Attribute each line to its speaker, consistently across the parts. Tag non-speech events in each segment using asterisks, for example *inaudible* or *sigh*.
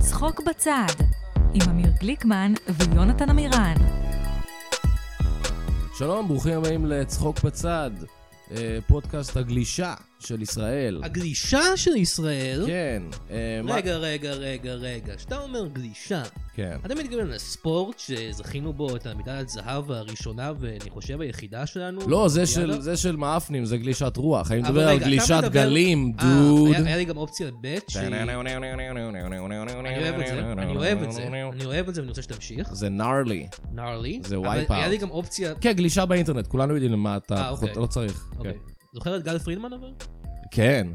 Speaker 1: צחוק בצד, עם אמיר גליקמן ויונתן עמירן.
Speaker 2: שלום, ברוכים הבאים לצחוק בצד, אה, פודקאסט הגלישה של ישראל.
Speaker 3: הגלישה של ישראל...
Speaker 2: כן. אה, מה-
Speaker 3: רגע, רגע, רגע, רגע. כשאתה אומר גלישה,
Speaker 2: כן.
Speaker 3: אתה מתכוון לספורט שזכינו בו את המדלת זהב הראשונה, ואני חושב היחידה שלנו?
Speaker 2: לא, זה
Speaker 3: באולימפיאדה?
Speaker 2: של- זה של מאפנים, זה גלישת רוח. אני
Speaker 3: אבל
Speaker 2: מדבר
Speaker 3: רגע,
Speaker 2: על
Speaker 3: אתה
Speaker 2: גלישת
Speaker 3: מדבר-
Speaker 2: גלים,
Speaker 3: אה,
Speaker 2: דוד.
Speaker 3: היה- היה לי גם אופציה ב' שהיא... אני אוהב את זה, אני אוהב את זה, אני אוהב את זה ואני רוצה שתמשיך.
Speaker 2: זה נארלי.
Speaker 3: gnarly.
Speaker 2: זה
Speaker 3: אבל
Speaker 2: wipe
Speaker 3: היה
Speaker 2: out.
Speaker 3: לי גם אופציה...
Speaker 2: כן, גלישה באינטרנט, כולנו יודעים למה אתה
Speaker 3: אה, אוקיי.
Speaker 2: לא צריך. כן.
Speaker 3: אוקיי. זוכר את גל פרידמן אבל?
Speaker 2: כן.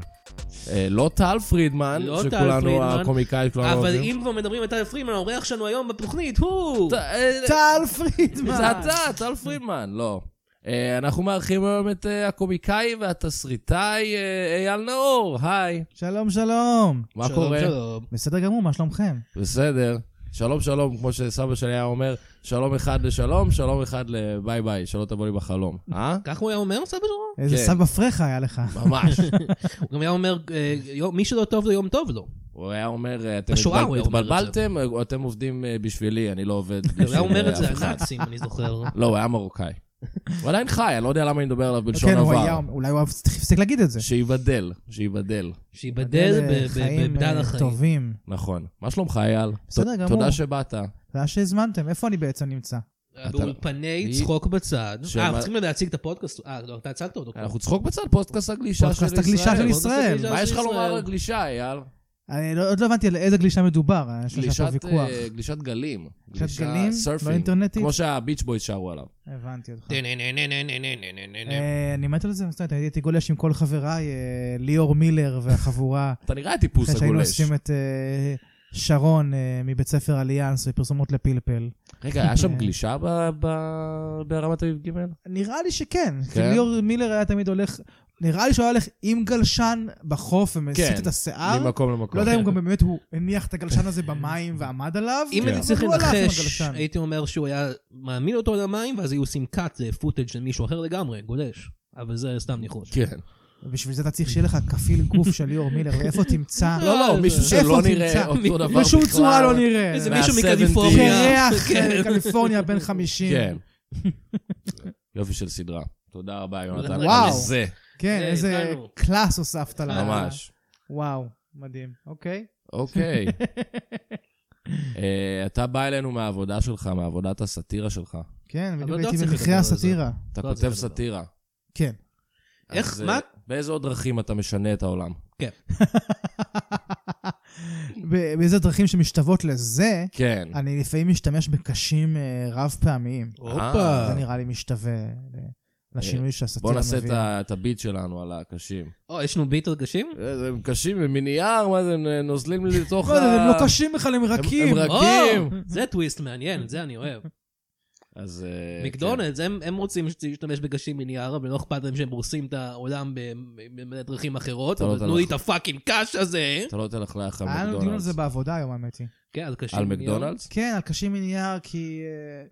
Speaker 2: אה, לא טל פרידמן,
Speaker 3: לא טל
Speaker 2: שכולנו
Speaker 3: פרידמן.
Speaker 2: הקומיקאי, כולנו
Speaker 3: אבל
Speaker 2: אוהבים.
Speaker 3: אם כבר מדברים על טל פרידמן, האורח שלנו היום בתוכנית הוא...
Speaker 2: ט- אה,
Speaker 4: טל פרידמן.
Speaker 2: זה אתה, טל פרידמן, לא. אה, אנחנו מארחים היום את אה, הקומיקאי והתסריטאי אה, אייל נאור, היי.
Speaker 4: שלום, שלום.
Speaker 2: מה
Speaker 3: שלום,
Speaker 2: קורה?
Speaker 3: שלום.
Speaker 4: בסדר גמור, מה שלומכם?
Speaker 2: בסדר. שלום שלום, כמו שסבא שלי היה אומר, שלום אחד לשלום, שלום אחד לביי ביי, שלא תבוא לי בחלום. אה?
Speaker 3: כך הוא היה אומר, סבא שלו?
Speaker 4: איזה
Speaker 2: כן.
Speaker 4: סבא פרחה היה לך.
Speaker 2: ממש.
Speaker 3: הוא גם היה אומר, אה, יום- מי שלא טוב לו, יום טוב לו.
Speaker 2: הוא היה אומר, אה, אתם
Speaker 3: בשואה
Speaker 2: התבל-
Speaker 3: הוא היה אומר את זה.
Speaker 2: התבלבלתם, אה, אתם עובדים אה, בשבילי, אני לא עובד בשביל
Speaker 3: *laughs* הוא היה אומר את
Speaker 2: אה,
Speaker 3: זה
Speaker 4: *laughs*
Speaker 2: אף אחד.
Speaker 3: הנאצים, אני זוכר.
Speaker 2: לא, הוא היה מרוקאי. הוא עדיין חי, אני לא יודע למה אני מדבר עליו בלשון
Speaker 4: כן, הוא היה,
Speaker 2: עבר.
Speaker 4: אולי הוא הפסיק להגיד את זה.
Speaker 2: שייבדל, שייבדל.
Speaker 3: שייבדל ב- ב-
Speaker 4: חיים,
Speaker 3: בבדל
Speaker 4: אה,
Speaker 3: החיים.
Speaker 4: טובים.
Speaker 2: נכון. מה שלומך, אייל?
Speaker 4: בסדר
Speaker 2: ת-
Speaker 4: גמור.
Speaker 2: תודה שבאת.
Speaker 4: תודה שהזמנתם, איפה אני בעצם נמצא?
Speaker 2: אתה-
Speaker 3: אה, באולפני
Speaker 2: היא-
Speaker 3: צחוק בצד.
Speaker 2: שמה-
Speaker 3: אה, אנחנו צריכים להציג את הפודקאסט. אה, לא, אתה הצגת אותו. כבר.
Speaker 2: אנחנו צחוק בצד, פודקאסט הגלישה של
Speaker 4: פודקאסט הגלישה של
Speaker 2: ישראל. לא
Speaker 4: ישראל.
Speaker 3: ישראל.
Speaker 2: מה יש לך
Speaker 3: ישראל.
Speaker 2: לומר על גלישה, אייל?
Speaker 4: אני לא- עוד לא הבנתי על איזה גלישה מדובר, יש לך פה
Speaker 2: גלישת,
Speaker 4: ויכוח.
Speaker 2: אה, גלישת גלים.
Speaker 4: גלישת גלים? לא
Speaker 2: סרפינג.
Speaker 4: אינטרנטית?
Speaker 2: כמו שהביץ' בויז שרו עליו. כן,
Speaker 4: הבנתי אותך.
Speaker 3: טננננננננננננננ.
Speaker 4: אה, אני מת על זה, זאת אומרת, הייתי גולש עם כל חבריי, אה, ליאור מילר והחבורה,
Speaker 2: אתה נראה טיפוס
Speaker 4: אחרי שהיינו
Speaker 2: הגולש.
Speaker 4: עושים את אה, שרון אה, מבית ספר אליאנס ופרסומות לפלפל.
Speaker 2: רגע, היה
Speaker 4: כן.
Speaker 2: שם גלישה ב- ב- ברמת אביב ג'?
Speaker 4: נראה לי שכן. כי
Speaker 2: כן?
Speaker 4: ליאור מילר היה תמיד הולך, נראה לי שהוא היה הולך עם גלשן בחוף ומסיט
Speaker 2: כן,
Speaker 4: את השיער.
Speaker 2: ממקום למקום.
Speaker 4: לא יודע אם גם באמת הוא הניח את הגלשן הזה במים ועמד עליו.
Speaker 3: אם
Speaker 2: כן.
Speaker 3: הייתי צריך
Speaker 4: אבל הוא לא הלך עם
Speaker 3: לנחש,
Speaker 4: הגלשן.
Speaker 3: הייתי אומר שהוא היה מעמיד אותו למים, ואז היו עושים cut לפוטג' של מישהו אחר לגמרי, גולש. אבל זה סתם ניחוש.
Speaker 2: כן.
Speaker 4: בשביל זה אתה צריך שיהיה לך כפיל גוף של ליאור מילר, ואיפה תמצא?
Speaker 2: לא, לא, מישהו
Speaker 4: אה, איפה
Speaker 2: שלא
Speaker 4: תמצא?
Speaker 2: נראה אותו דבר בכלל.
Speaker 4: בשום צורה לא נראה.
Speaker 3: איזה
Speaker 2: מה-
Speaker 3: מישהו
Speaker 2: מה-
Speaker 3: מקליפורניה.
Speaker 2: *laughs*
Speaker 4: קרח אה, קליפורניה בן 50. *laughs*
Speaker 2: כן. יופי של סדרה. תודה רבה, יונתן.
Speaker 4: וואו.
Speaker 2: על זה,
Speaker 4: כן,
Speaker 3: זה,
Speaker 4: איזה
Speaker 3: הבנו.
Speaker 4: קלאס הוספת לה.
Speaker 2: ממש.
Speaker 4: וואו, מדהים. אוקיי. *laughs*
Speaker 2: אוקיי. אה, אתה בא אלינו מהעבודה שלך, מעבודת הסאטירה שלך.
Speaker 4: כן,
Speaker 3: לא
Speaker 4: בדיוק הייתי
Speaker 3: צריך
Speaker 4: במחירי
Speaker 3: לדבר על זה.
Speaker 4: הסאטירה.
Speaker 2: אתה
Speaker 3: לא,
Speaker 2: כותב
Speaker 3: זה לא
Speaker 2: סאטירה.
Speaker 4: כן.
Speaker 2: אז,
Speaker 3: איך,
Speaker 2: אה,
Speaker 3: מה?
Speaker 2: באיזה עוד דרכים אתה משנה את העולם?
Speaker 4: ב- באיזה דרכים שמשתוות לזה,
Speaker 2: כן.
Speaker 4: אני לפעמים משתמש בקשים אה, רב פעמיים.
Speaker 2: אה.
Speaker 4: זה נראה לי משתווה אה, לשינוי שהסאטירה
Speaker 2: בוא
Speaker 4: מביאה.
Speaker 2: נעשה את ה- את הביט שלנו על הקשים.
Speaker 3: או, יש לנו ביט רגשים?
Speaker 2: אה, זה- הם קשים, הם מנייר, מה זה, הם אה, נוזלים לי לתוך ה...
Speaker 4: לא, הם לא קשים בכלל, הם רכים. אה,
Speaker 2: הם רק-
Speaker 3: או,
Speaker 2: רגשים.
Speaker 3: זה טוויסט מעניין, את זה אני אוהב.
Speaker 2: אז... אה,
Speaker 3: מקדונלדס, הם הם רוצים שתשתמש בקשים מנייר, אבל לא אכפת להם שהם הורסים את העולם בדרכים אחרות,
Speaker 2: אתה לא
Speaker 3: אבל תנו
Speaker 2: תלך.
Speaker 3: לי את הפאקינג קאש הזה.
Speaker 2: כן. אתה לא תלכלך על
Speaker 4: היה לנו דיון על זה
Speaker 2: מקדונלדס.
Speaker 4: בעבודה היום, האמת היא.
Speaker 3: כן, אז קשים
Speaker 2: על
Speaker 3: מנייר.
Speaker 2: מקדונלדס?
Speaker 4: כן, על קשים מנייר, כי אה,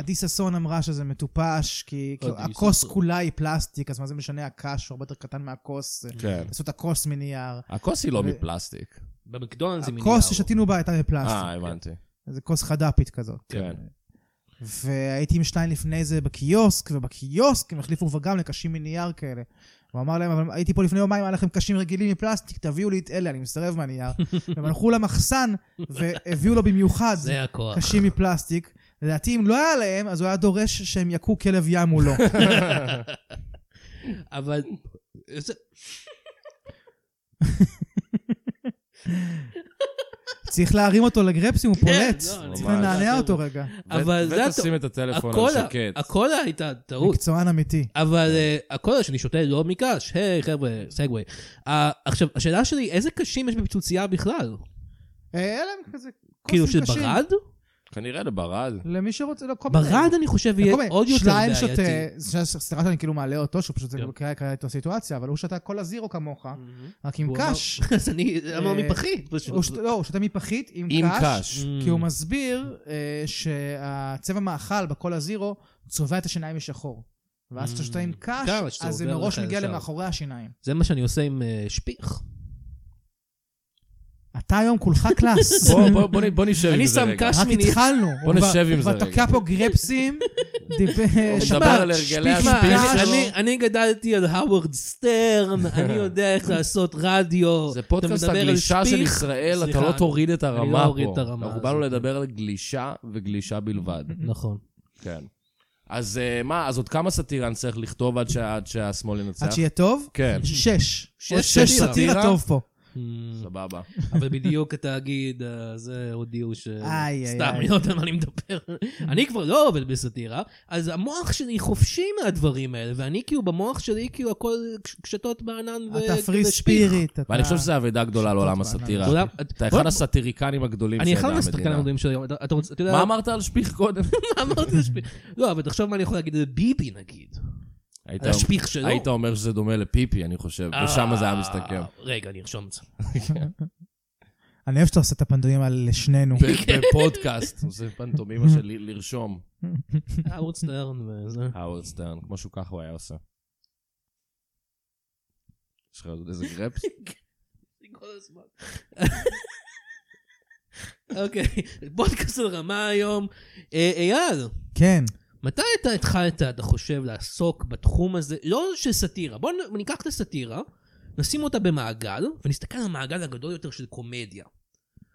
Speaker 4: עדי ששון אמרה שזה מטופש, כי כי
Speaker 3: עדי
Speaker 4: הכוס
Speaker 3: ששון.
Speaker 4: כולה היא פלסטיק, אז מה זה משנה, הקש הוא הרבה יותר קטן מהכוס. אה,
Speaker 2: כן.
Speaker 4: עשו את הכוס מנייר.
Speaker 2: הכוס היא לא
Speaker 4: ו-
Speaker 2: מפלסטיק.
Speaker 3: במקדונלדס זה מנייר.
Speaker 4: הכוס ששתינו בה הייתה
Speaker 2: אה,
Speaker 4: מפלסטיק.
Speaker 2: הבנתי.
Speaker 4: איזה כוס חד"פית כזאת.
Speaker 2: כן.
Speaker 4: והייתי עם שניים לפני זה בקיוסק, ובקיוסק הם החליפו כבר גם לקשים מנייר כאלה. הוא אמר להם, אבל הייתי פה לפני יומיים, היה לכם קשים רגילים מפלסטיק, תביאו לי את אלה, אני
Speaker 3: *laughs*
Speaker 4: מסרב מהנייר. הם הלכו למחסן והביאו לו במיוחד
Speaker 3: זה הכוח.
Speaker 4: קשים מפלסטיק. לדעתי, אם לא היה להם, אז הוא היה דורש שהם יכו כלב
Speaker 3: *laughs*
Speaker 4: ים מולו.
Speaker 3: אבל... איזה-
Speaker 4: צריך להרים אותו לגרפסים, הוא פולט.
Speaker 3: לא, אני-
Speaker 4: צריך
Speaker 2: ממש.
Speaker 4: לנענע אותו רגע.
Speaker 2: ו-
Speaker 3: אבל זה...
Speaker 2: ותשים את הטלפון
Speaker 3: הכל-
Speaker 2: על שקט.
Speaker 3: הכל הייתה טעות.
Speaker 4: מקצוען אמיתי.
Speaker 3: אבל
Speaker 2: כן.
Speaker 3: uh, הקולה שאני שותה לא מקש, היי חבר'ה, סגווי. Uh, עכשיו, השאלה שלי, איזה קשים יש בפיצוצייה בכלל?
Speaker 4: אה, היה להם כזה קוסם
Speaker 3: כאילו של
Speaker 4: קשים.
Speaker 3: ברד?
Speaker 2: כנראה לברד.
Speaker 4: למי שרוצה, לא, כל מיני.
Speaker 3: ברד אני חושב יהיה
Speaker 4: כל מיני,
Speaker 3: עוד יותר
Speaker 4: שליים
Speaker 3: בעייתי.
Speaker 4: שותה, ש- סליחה שאני כאילו מעלה אותו, שהוא פשוט זה
Speaker 3: כן.
Speaker 4: במקרה קרה איתו סיטואציה, אבל הוא שתה כל הזירו כמוך,
Speaker 3: מהמם.
Speaker 4: רק עם
Speaker 3: הוא אמר-
Speaker 4: קש.
Speaker 2: *laughs*
Speaker 3: אז אני, למה הוא
Speaker 4: אה,
Speaker 3: מפחית? פשוט.
Speaker 4: הוא שת- לא, הוא שתה מפחית עם
Speaker 2: עם
Speaker 4: קש,
Speaker 2: קש.
Speaker 4: כי הוא מסביר אה, שהצבע מאכל בכל הזירו צובע את השיניים משחור. ואז כשאתה שותה עם קש,
Speaker 3: גם, כשאתה
Speaker 4: אז זה
Speaker 3: עובר
Speaker 4: מראש
Speaker 3: לך
Speaker 4: מגיע
Speaker 3: ישר.
Speaker 4: למאחורי השיניים.
Speaker 3: זה מה שאני עושה עם אה, שפיך.
Speaker 4: אתה היום כולך קלאס.
Speaker 2: בוא- בוא- בוא נ- בוא נשב עם
Speaker 3: אני
Speaker 2: זה
Speaker 3: שם
Speaker 2: רגע.
Speaker 3: קש
Speaker 4: רק
Speaker 3: שמינית.
Speaker 4: התחלנו.
Speaker 2: בוא
Speaker 4: הוא כבר-
Speaker 2: נשב עם זה
Speaker 4: כבר
Speaker 2: רגע.
Speaker 4: תקע פה גרפסים, דיבר...
Speaker 2: נדבר על הרגלי
Speaker 4: שפיץ
Speaker 3: תשמע,
Speaker 2: השפיץ
Speaker 4: קש.
Speaker 2: שלו.
Speaker 3: אני- אה, אני- אני גדלתי על האוורד
Speaker 2: *laughs*
Speaker 3: סטרן, אני יודע איך לעשות רדיו.
Speaker 2: זה
Speaker 3: אתה
Speaker 2: פודקאסט
Speaker 3: מדבר על
Speaker 2: הגלישה של
Speaker 3: שפיך.
Speaker 2: ישראל, אתה
Speaker 3: סליחה,
Speaker 2: לא תוריד את
Speaker 3: לא
Speaker 2: הרמה
Speaker 3: אוריד את
Speaker 2: פה.
Speaker 3: הרמה
Speaker 2: אנחנו באנו
Speaker 3: הזאת.
Speaker 2: לדבר על גלישה וגלישה
Speaker 3: *laughs*
Speaker 2: בלבד.
Speaker 3: נכון.
Speaker 2: כן. אז אה, מה, אז עוד כמה סאטירה אני צריך לכתוב עד שה- עד שהשמאל ינצח?
Speaker 4: עד שיהיה
Speaker 3: *laughs*
Speaker 4: טוב?
Speaker 2: כן,
Speaker 4: שש.
Speaker 3: שש
Speaker 4: עוד שש
Speaker 3: סאטירה.
Speaker 4: סאטירה טוב פה.
Speaker 2: סבבה.
Speaker 3: Mm. אבל בדיוק התאגיד, אה, זה הודיעו ש...
Speaker 4: איי, איי,
Speaker 3: סתם,
Speaker 4: איי.
Speaker 3: אני לא יודע על מה אני
Speaker 2: *laughs*
Speaker 3: מדבר. אני כבר לא עובד בסאטירה, אז המוח שלי חופשי מהדברים האלה, ואני כאילו במוח שלי כאילו הכל קש- קשתות בענן ו...
Speaker 4: אתה פרי
Speaker 3: ושפיך.
Speaker 4: ספיריט.
Speaker 2: ואני
Speaker 4: אתה-
Speaker 2: חושב שזו אבדה גדולה לעולם
Speaker 4: טוב,
Speaker 2: הסאטירה.
Speaker 3: כולם-
Speaker 2: אתה
Speaker 3: בוא-
Speaker 2: אחד הסאטיריקנים הגדולים
Speaker 3: אני
Speaker 2: שידעה
Speaker 3: אחד מהשחקנים
Speaker 2: המדינה.
Speaker 3: הגדולים של היום, אתה- אתה רוצה, אתה יודע... *laughs*
Speaker 2: מה אמרת על שפיך קודם?
Speaker 3: מה אמרתי לשפיך? לא, אבל תחשוב מה אני יכול להגיד על ביבי נגיד.
Speaker 2: היית-
Speaker 3: על השפיך שלו.
Speaker 2: היית אומר שזה דומה לפיפי, אני חושב,
Speaker 3: אה,
Speaker 2: ושם זה היה
Speaker 3: *laughs*
Speaker 2: מסתכם. *laughs*
Speaker 3: רגע, אני ארשום את זה.
Speaker 4: אני אוהב שאתה עושה את הפנדויים על שנינו.
Speaker 2: ב- בפודקאסט, זה פנטומימה של ל- לרשום.
Speaker 3: אה, ערוץ סטרן
Speaker 2: *laughs*
Speaker 3: וזה.
Speaker 2: האוורד סטרן, כמו שהוא ככה הוא היה עושה. יש לך עוד איזה גרפס?
Speaker 3: כל הזמן. *laughs* אוקיי, פודקאסט על רמה היום. אה, אייל,
Speaker 4: כן.
Speaker 3: מתי אתה התחלת, אתה חושב, לעסוק בתחום הזה, לא של סאטירה, בוא נ- ניקח את הסאטירה, נשים אותה במעגל, ונסתכל על המעגל הגדול יותר של קומדיה.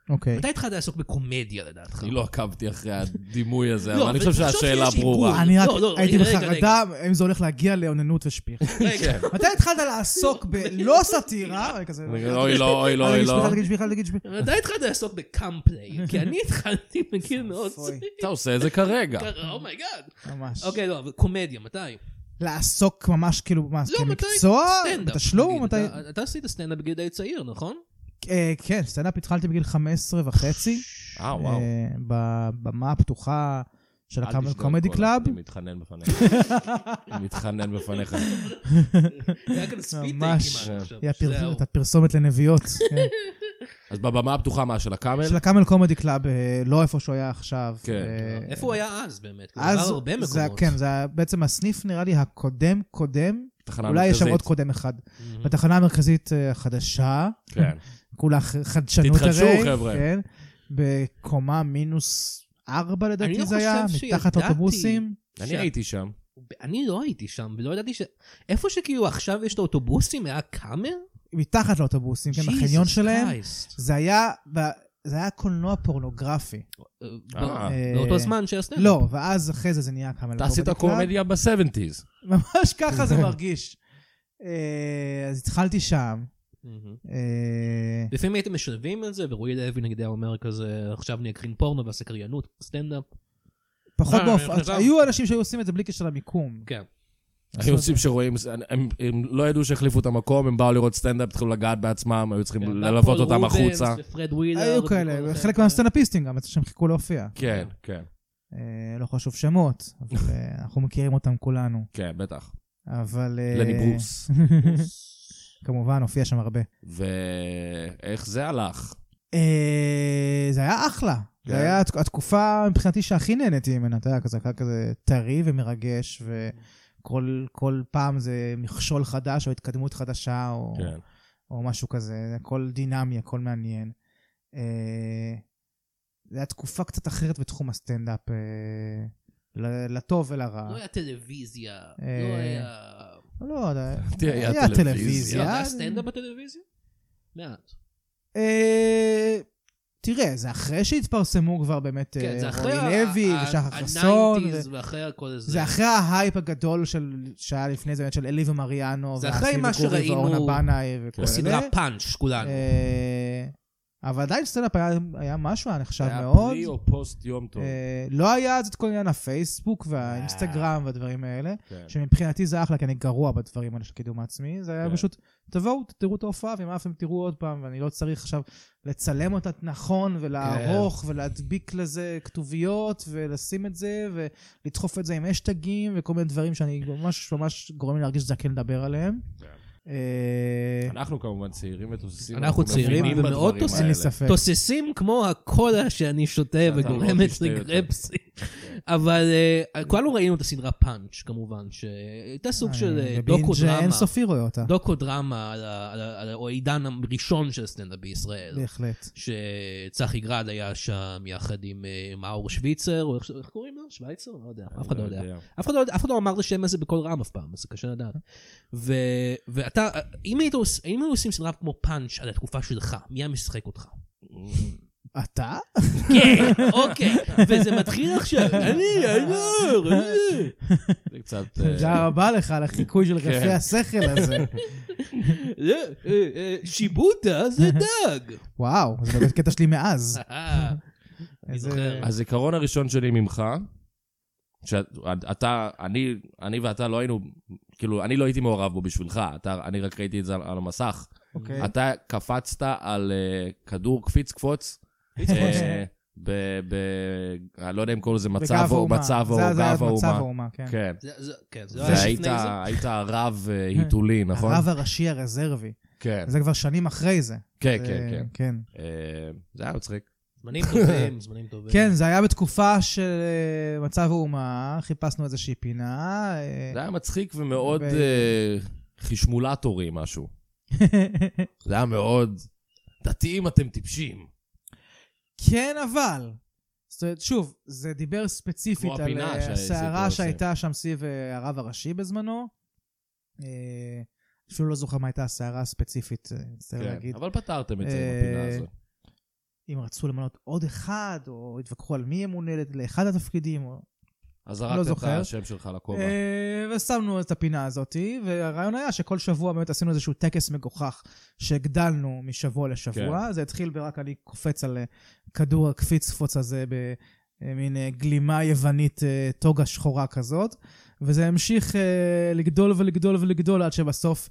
Speaker 4: אוקיי.
Speaker 3: מתי התחלת לעסוק בקומדיה לדעתך?
Speaker 2: *laughs* אני לא עקבתי אחרי הדימוי הזה,
Speaker 3: לא,
Speaker 2: אבל אני
Speaker 3: אבל
Speaker 2: חושב
Speaker 3: תחשוב
Speaker 2: שהשאלה
Speaker 3: שיש
Speaker 2: ברורה.
Speaker 3: עיגול.
Speaker 4: אני רק
Speaker 3: לא, לא,
Speaker 4: הייתי
Speaker 3: רגע,
Speaker 4: בחרדה אם זה הולך להגיע לאוננות ושפיך.
Speaker 3: *laughs* רגע,
Speaker 4: מתי התחלת לעסוק בלא סאטירה? אוי, כזה- אה,
Speaker 2: אני- אוי לא, אוי לא,
Speaker 4: אל
Speaker 2: אוי
Speaker 4: תגיד שפיך,
Speaker 2: לא.
Speaker 4: אל תגיד שפיך, אל תגיד שפיך.
Speaker 3: מתי התחלת לעסוק בקאמפליי? כי
Speaker 4: *laughs*
Speaker 3: אני התחלתי בגיל מאוד
Speaker 4: אוי.
Speaker 3: צעיר.
Speaker 2: אתה עושה את זה כרגע.
Speaker 3: אומייגאד.
Speaker 4: ממש.
Speaker 3: אוקיי, לא, אבל קומדיה, מתי?
Speaker 4: לעסוק ממש כאילו, מה,
Speaker 3: לא, מתי?
Speaker 4: כמקצוע?
Speaker 3: סטנדאפ.
Speaker 4: בתשלום?
Speaker 3: נגיד.
Speaker 4: מתי?
Speaker 3: אתה- אתה עשית סטנדאפ בגיל די צעיר, נכון?
Speaker 4: *laughs* אה, כן, סטנדאפ התחלתי בגיל 15 וחצי.
Speaker 2: אה, וואו.
Speaker 4: אה, בבמה הפתוחה של
Speaker 2: אל
Speaker 4: הקאמל
Speaker 2: תשתוק
Speaker 4: קומדי
Speaker 2: כל
Speaker 4: קלאב.
Speaker 2: הזמן, אני מתחנן
Speaker 4: *laughs*
Speaker 2: בפניך. אני מתחנן בפניך.
Speaker 3: היה כאן ספיד טייק
Speaker 4: ממש.
Speaker 3: כמעט עכשיו.
Speaker 4: היא הפרס-
Speaker 3: זהו.
Speaker 4: את הפרסומת לנביאות.
Speaker 3: *laughs*
Speaker 4: כן.
Speaker 2: אז בבמה הפתוחה, מה, של הקאמל?
Speaker 4: של הקאמל קומדי קלאב, אה, לא איפה שהוא היה עכשיו.
Speaker 2: כן.
Speaker 4: אה,
Speaker 3: איפה הוא היה אז באמת? כי הוא
Speaker 4: אז
Speaker 3: עבר הרבה מקומות.
Speaker 4: זה, כן, זה היה בעצם הסניף נראה לי הקודם קודם,
Speaker 2: תחנה
Speaker 4: אולי יש שם עוד
Speaker 2: מרכזית.
Speaker 4: קודם אחד.
Speaker 3: Mhm.
Speaker 4: בתחנה המרכזית אה, החדשה,
Speaker 2: כן.
Speaker 4: כולה ח- חדשנות הרי.
Speaker 2: תתחדשו, חבר'ה.
Speaker 4: כן, בקומה מינוס ארבע
Speaker 3: אני
Speaker 4: לדעתי
Speaker 3: לא
Speaker 4: זה היה,
Speaker 3: חושב
Speaker 4: מתחת
Speaker 3: שידעתי.
Speaker 4: אוטובוסים.
Speaker 2: אני
Speaker 3: שה-
Speaker 2: הייתי שם.
Speaker 3: אני לא הייתי שם, ולא ידעתי ש... איפה שכאילו עכשיו יש את האוטובוסים, היה קאמר?
Speaker 4: מתחת לאוטובוסים, כן, בחניון שלהם. זה היה, ב- זה היה קולנוע פורנוגרפי.
Speaker 3: כן.
Speaker 2: אה.
Speaker 3: באותו זמן של הסטנדאפ.
Speaker 4: לא, ואז אחרי זה זה נהיה הקאמל
Speaker 2: אתה עשית
Speaker 4: קומדי קלאב.
Speaker 2: קומדיה ב-70's.
Speaker 4: ממש
Speaker 2: *laughs*
Speaker 4: ככה זה מרגיש. אה, אז התחלתי שם.
Speaker 3: Mhm.
Speaker 4: אה,
Speaker 3: לפעמים הייתם משלבים את זה, ורועי לוי נגיד היה אומר כזה, עכשיו אני אקרין פורנו ואעשה קריינות, סטנדאפ.
Speaker 2: כן,
Speaker 4: פחות
Speaker 3: אה,
Speaker 4: באופן,
Speaker 3: נכון.
Speaker 4: היו אנשים שהיו עושים את זה בלי קשר למיקום.
Speaker 3: כן.
Speaker 2: היו עושים שרואים, הם- הם לא ידעו שהחליפו את המקום, הם באו לראות סטנדאפ, התחילו לגעת בעצם, היו צריכים ללוות אותם החוצה.
Speaker 3: פרד ווילר.
Speaker 4: היו כאלה, חלק מהסטנדאפיסטים גם, שהם חיכו להופיע.
Speaker 2: כן, כן,
Speaker 4: אה, לא חשוב שמות, אבל אה, אנחנו מכירים אותם כולנו.
Speaker 2: כן, בטח.
Speaker 4: אבל... אה,
Speaker 2: לני ברוס.
Speaker 4: *laughs*
Speaker 2: *laughs*
Speaker 4: כמובן, הופיע שם הרבה.
Speaker 2: ואיך זה הלך?
Speaker 4: אה, זה היה אחלה.
Speaker 2: כן.
Speaker 4: זה היה התק- התקופה מבחינתי שהכי נהניתי ממנה, אתה יודע, כזה, היה כזה טרי ומרגש, וכל כל פעם זה מכשול חדש או התקדמות חדשה, או...
Speaker 2: כן.
Speaker 4: או משהו כזה, הכל דינמי, הכל מעניין. אה, זה היה תקופה קצת אחרת בתחום הסטנדאפ, אה, ל- לטוב ולרע.
Speaker 3: לא היה טלוויזיה, לא
Speaker 4: אה,
Speaker 3: היה... לא,
Speaker 4: לא, זה-
Speaker 2: תראה, היה
Speaker 4: היה
Speaker 2: טלוויזיה.
Speaker 4: טלוויזיה.
Speaker 3: היה סטנדאפ בטלוויזיה? מעט.
Speaker 4: אה, תראה, זה אחרי שהתפרסמו כבר באמת
Speaker 3: כן,
Speaker 4: אה,
Speaker 3: זה אחרי
Speaker 4: רועי לוי
Speaker 3: ה- ה-
Speaker 4: ושחר
Speaker 3: ה-
Speaker 4: חסון. ו-
Speaker 3: 90s ואחרי הכל הזה.
Speaker 4: זה אחרי ההייפ הגדול של- שהיה לפני זה, באמת, של אלי ומריאנו,
Speaker 3: זה אחרי
Speaker 4: ואסי
Speaker 3: מה
Speaker 4: וגורי
Speaker 3: שראינו
Speaker 4: ואורנה בנאי וכל
Speaker 3: בסדרה פאנץ' כולנו.
Speaker 4: אה, אבל עדיין סטנדאפ היה- היה משהו, היה נחשב
Speaker 2: היה
Speaker 4: מאוד.
Speaker 2: פרי או פוסט יום טוב.
Speaker 4: אה, לא היה אז את כל עניין הפייסבוק והאינסטגרם והדברים האלה,
Speaker 2: כן.
Speaker 4: שמבחינתי זה אחלה, כי אני גרוע בדברים האלה של קידום עצמי. זה היה
Speaker 2: כן.
Speaker 4: פשוט, תבואו, תראו את ההופעה, ואם אהבתם תראו עוד פעם, ואני לא צריך עכשיו לצלם אותה נכון,
Speaker 2: כן.
Speaker 4: ולערוך, ולהדביק לזה כתוביות, ולשים את זה, ולדחוף את זה עם אשטגים, וכל מיני דברים שאני ממש ממש גורם לי להרגיש זקן לדבר עליהם.
Speaker 2: כן.
Speaker 4: אה,
Speaker 2: אנחנו כמובן צעירים ותוססים.
Speaker 3: אנחנו צעירים
Speaker 2: מבינים
Speaker 3: ומאוד
Speaker 2: בדברים
Speaker 3: תוססים.
Speaker 4: אין לי
Speaker 2: האלה.
Speaker 4: ספק.
Speaker 3: תוססים כמו הקולה שאני שותה
Speaker 2: שאתה לא
Speaker 3: וגורמת
Speaker 2: תשתה יותר.
Speaker 3: לגרפסי. אבל אה, כולנו ראינו את הסדרה פאנץ', כמובן, שהייתה סוג של אה,
Speaker 4: בינג'
Speaker 3: דוקו-דרמה.
Speaker 4: אינסופי רואה אותה.
Speaker 3: דוקו-דראמה על, ה- על, ה- על ה- או העידן הראשון של הסטנדאפ בישראל.
Speaker 4: בהחלט.
Speaker 3: שצחי גרד היה שם יחד עם אה, מאור שוויצר, או איך ש- איך קוראים לו? שווייצר? לא יודע, אף אחד לא יודע. *laughs* אף אחד לא, יודע- אף אחד לא אמר את השם הזה בקול רם אף פעם, אז זה קשה לדעת. ו, ואתה, אם היית עוש- אם היו עושים סדרה כמו פאנץ' על התקופה שלך, מי היה משחק אותך?
Speaker 2: אה.
Speaker 4: אתה?
Speaker 3: כן, *laughs* אוקיי, וזה מתחיל *laughs* עכשיו, אני, אלור, אני.
Speaker 2: זה
Speaker 4: *laughs*
Speaker 2: קצת... אה,
Speaker 4: תודה רבה לך על החיקוי של
Speaker 2: כן.
Speaker 4: רפי השכל
Speaker 2: *laughs*
Speaker 4: הזה.
Speaker 3: לא, אה, אה, שיבוטה זה *laughs* דג.
Speaker 4: וואו, זה באמת קטע שלי
Speaker 2: אה,
Speaker 4: מאז.
Speaker 3: אה, אני
Speaker 4: איזה-
Speaker 3: זוכר.
Speaker 2: הזיכרון הראשון שלי ממך, שאתה, אני, אני ואתה לא היינו, כאילו, אני לא הייתי מעורב בו בשבילך, אתה, אני רק ראיתי את זה על, על המסך.
Speaker 4: אוקיי.
Speaker 2: אתה קפצת על אה, כדור קפיץ קפוץ. אה, ב... ב... אני לא יודע אם קוראים לזה מצב
Speaker 4: אוקיי. בגב
Speaker 2: או
Speaker 4: האומה.
Speaker 2: מצב או
Speaker 4: זה- זה היה
Speaker 2: גב
Speaker 4: מצב
Speaker 2: האומה.
Speaker 4: האומה, כן.
Speaker 2: כן.
Speaker 3: זה- זה- כן, זה לא היה
Speaker 2: והיית
Speaker 3: לפני זה.
Speaker 2: היית הרב אה, היתולי, נכון?
Speaker 4: הרב הראשי הרזרבי.
Speaker 2: כן,
Speaker 4: זה כבר שנים אחרי זה.
Speaker 2: כן,
Speaker 4: זה-
Speaker 2: כן, כן.
Speaker 4: כן.
Speaker 2: אה, זה היה מצחיק.
Speaker 3: זמנים
Speaker 4: *laughs*
Speaker 3: טובים, זמנים טובים.
Speaker 4: כן, זה היה בתקופה של אה, מצב האומה, חיפשנו איזושהי פינה. אה,
Speaker 2: זה היה מצחיק ומאוד
Speaker 4: ב-
Speaker 2: אה, חשמולטורי משהו. זה היה מאוד... דתיים אתם טיפשים.
Speaker 4: *laughs* כן, אבל... זאת אומרת, שוב, זה דיבר ספציפית
Speaker 2: כמו
Speaker 4: על
Speaker 2: הפינה
Speaker 4: אה,
Speaker 2: שהעסק
Speaker 4: הסערה
Speaker 2: עושה.
Speaker 4: שהייתה שם סביב אה, הרב הראשי בזמנו. אה, אפילו לא זוכר מה הייתה הסערה הספציפית, אה, מצטער
Speaker 2: כן,
Speaker 4: להגיד.
Speaker 2: אבל פתרתם את זה עם
Speaker 4: אה,
Speaker 2: הפינה הזאת.
Speaker 4: אם רצו למנות עוד אחד, או התווכחו על מי ימונה לאחד התפקידים, או
Speaker 2: אז זרקת
Speaker 4: לא
Speaker 2: את
Speaker 4: זוכר.
Speaker 2: השם שלך לכובע.
Speaker 4: אה, ושמנו את הפינה הזאת, והרעיון היה שכל שבוע באמת עשינו איזשהו טקס מגוחך שהגדלנו משבוע לשבוע. זה התחיל ברק אני קופץ על אה, כדור הקפיץ קפוץ הזה במין אה, גלימה יוונית, אה, טוגה שחורה כזאת, וזה המשיך אה, לגדול ולגדול ולגדול עד שבסוף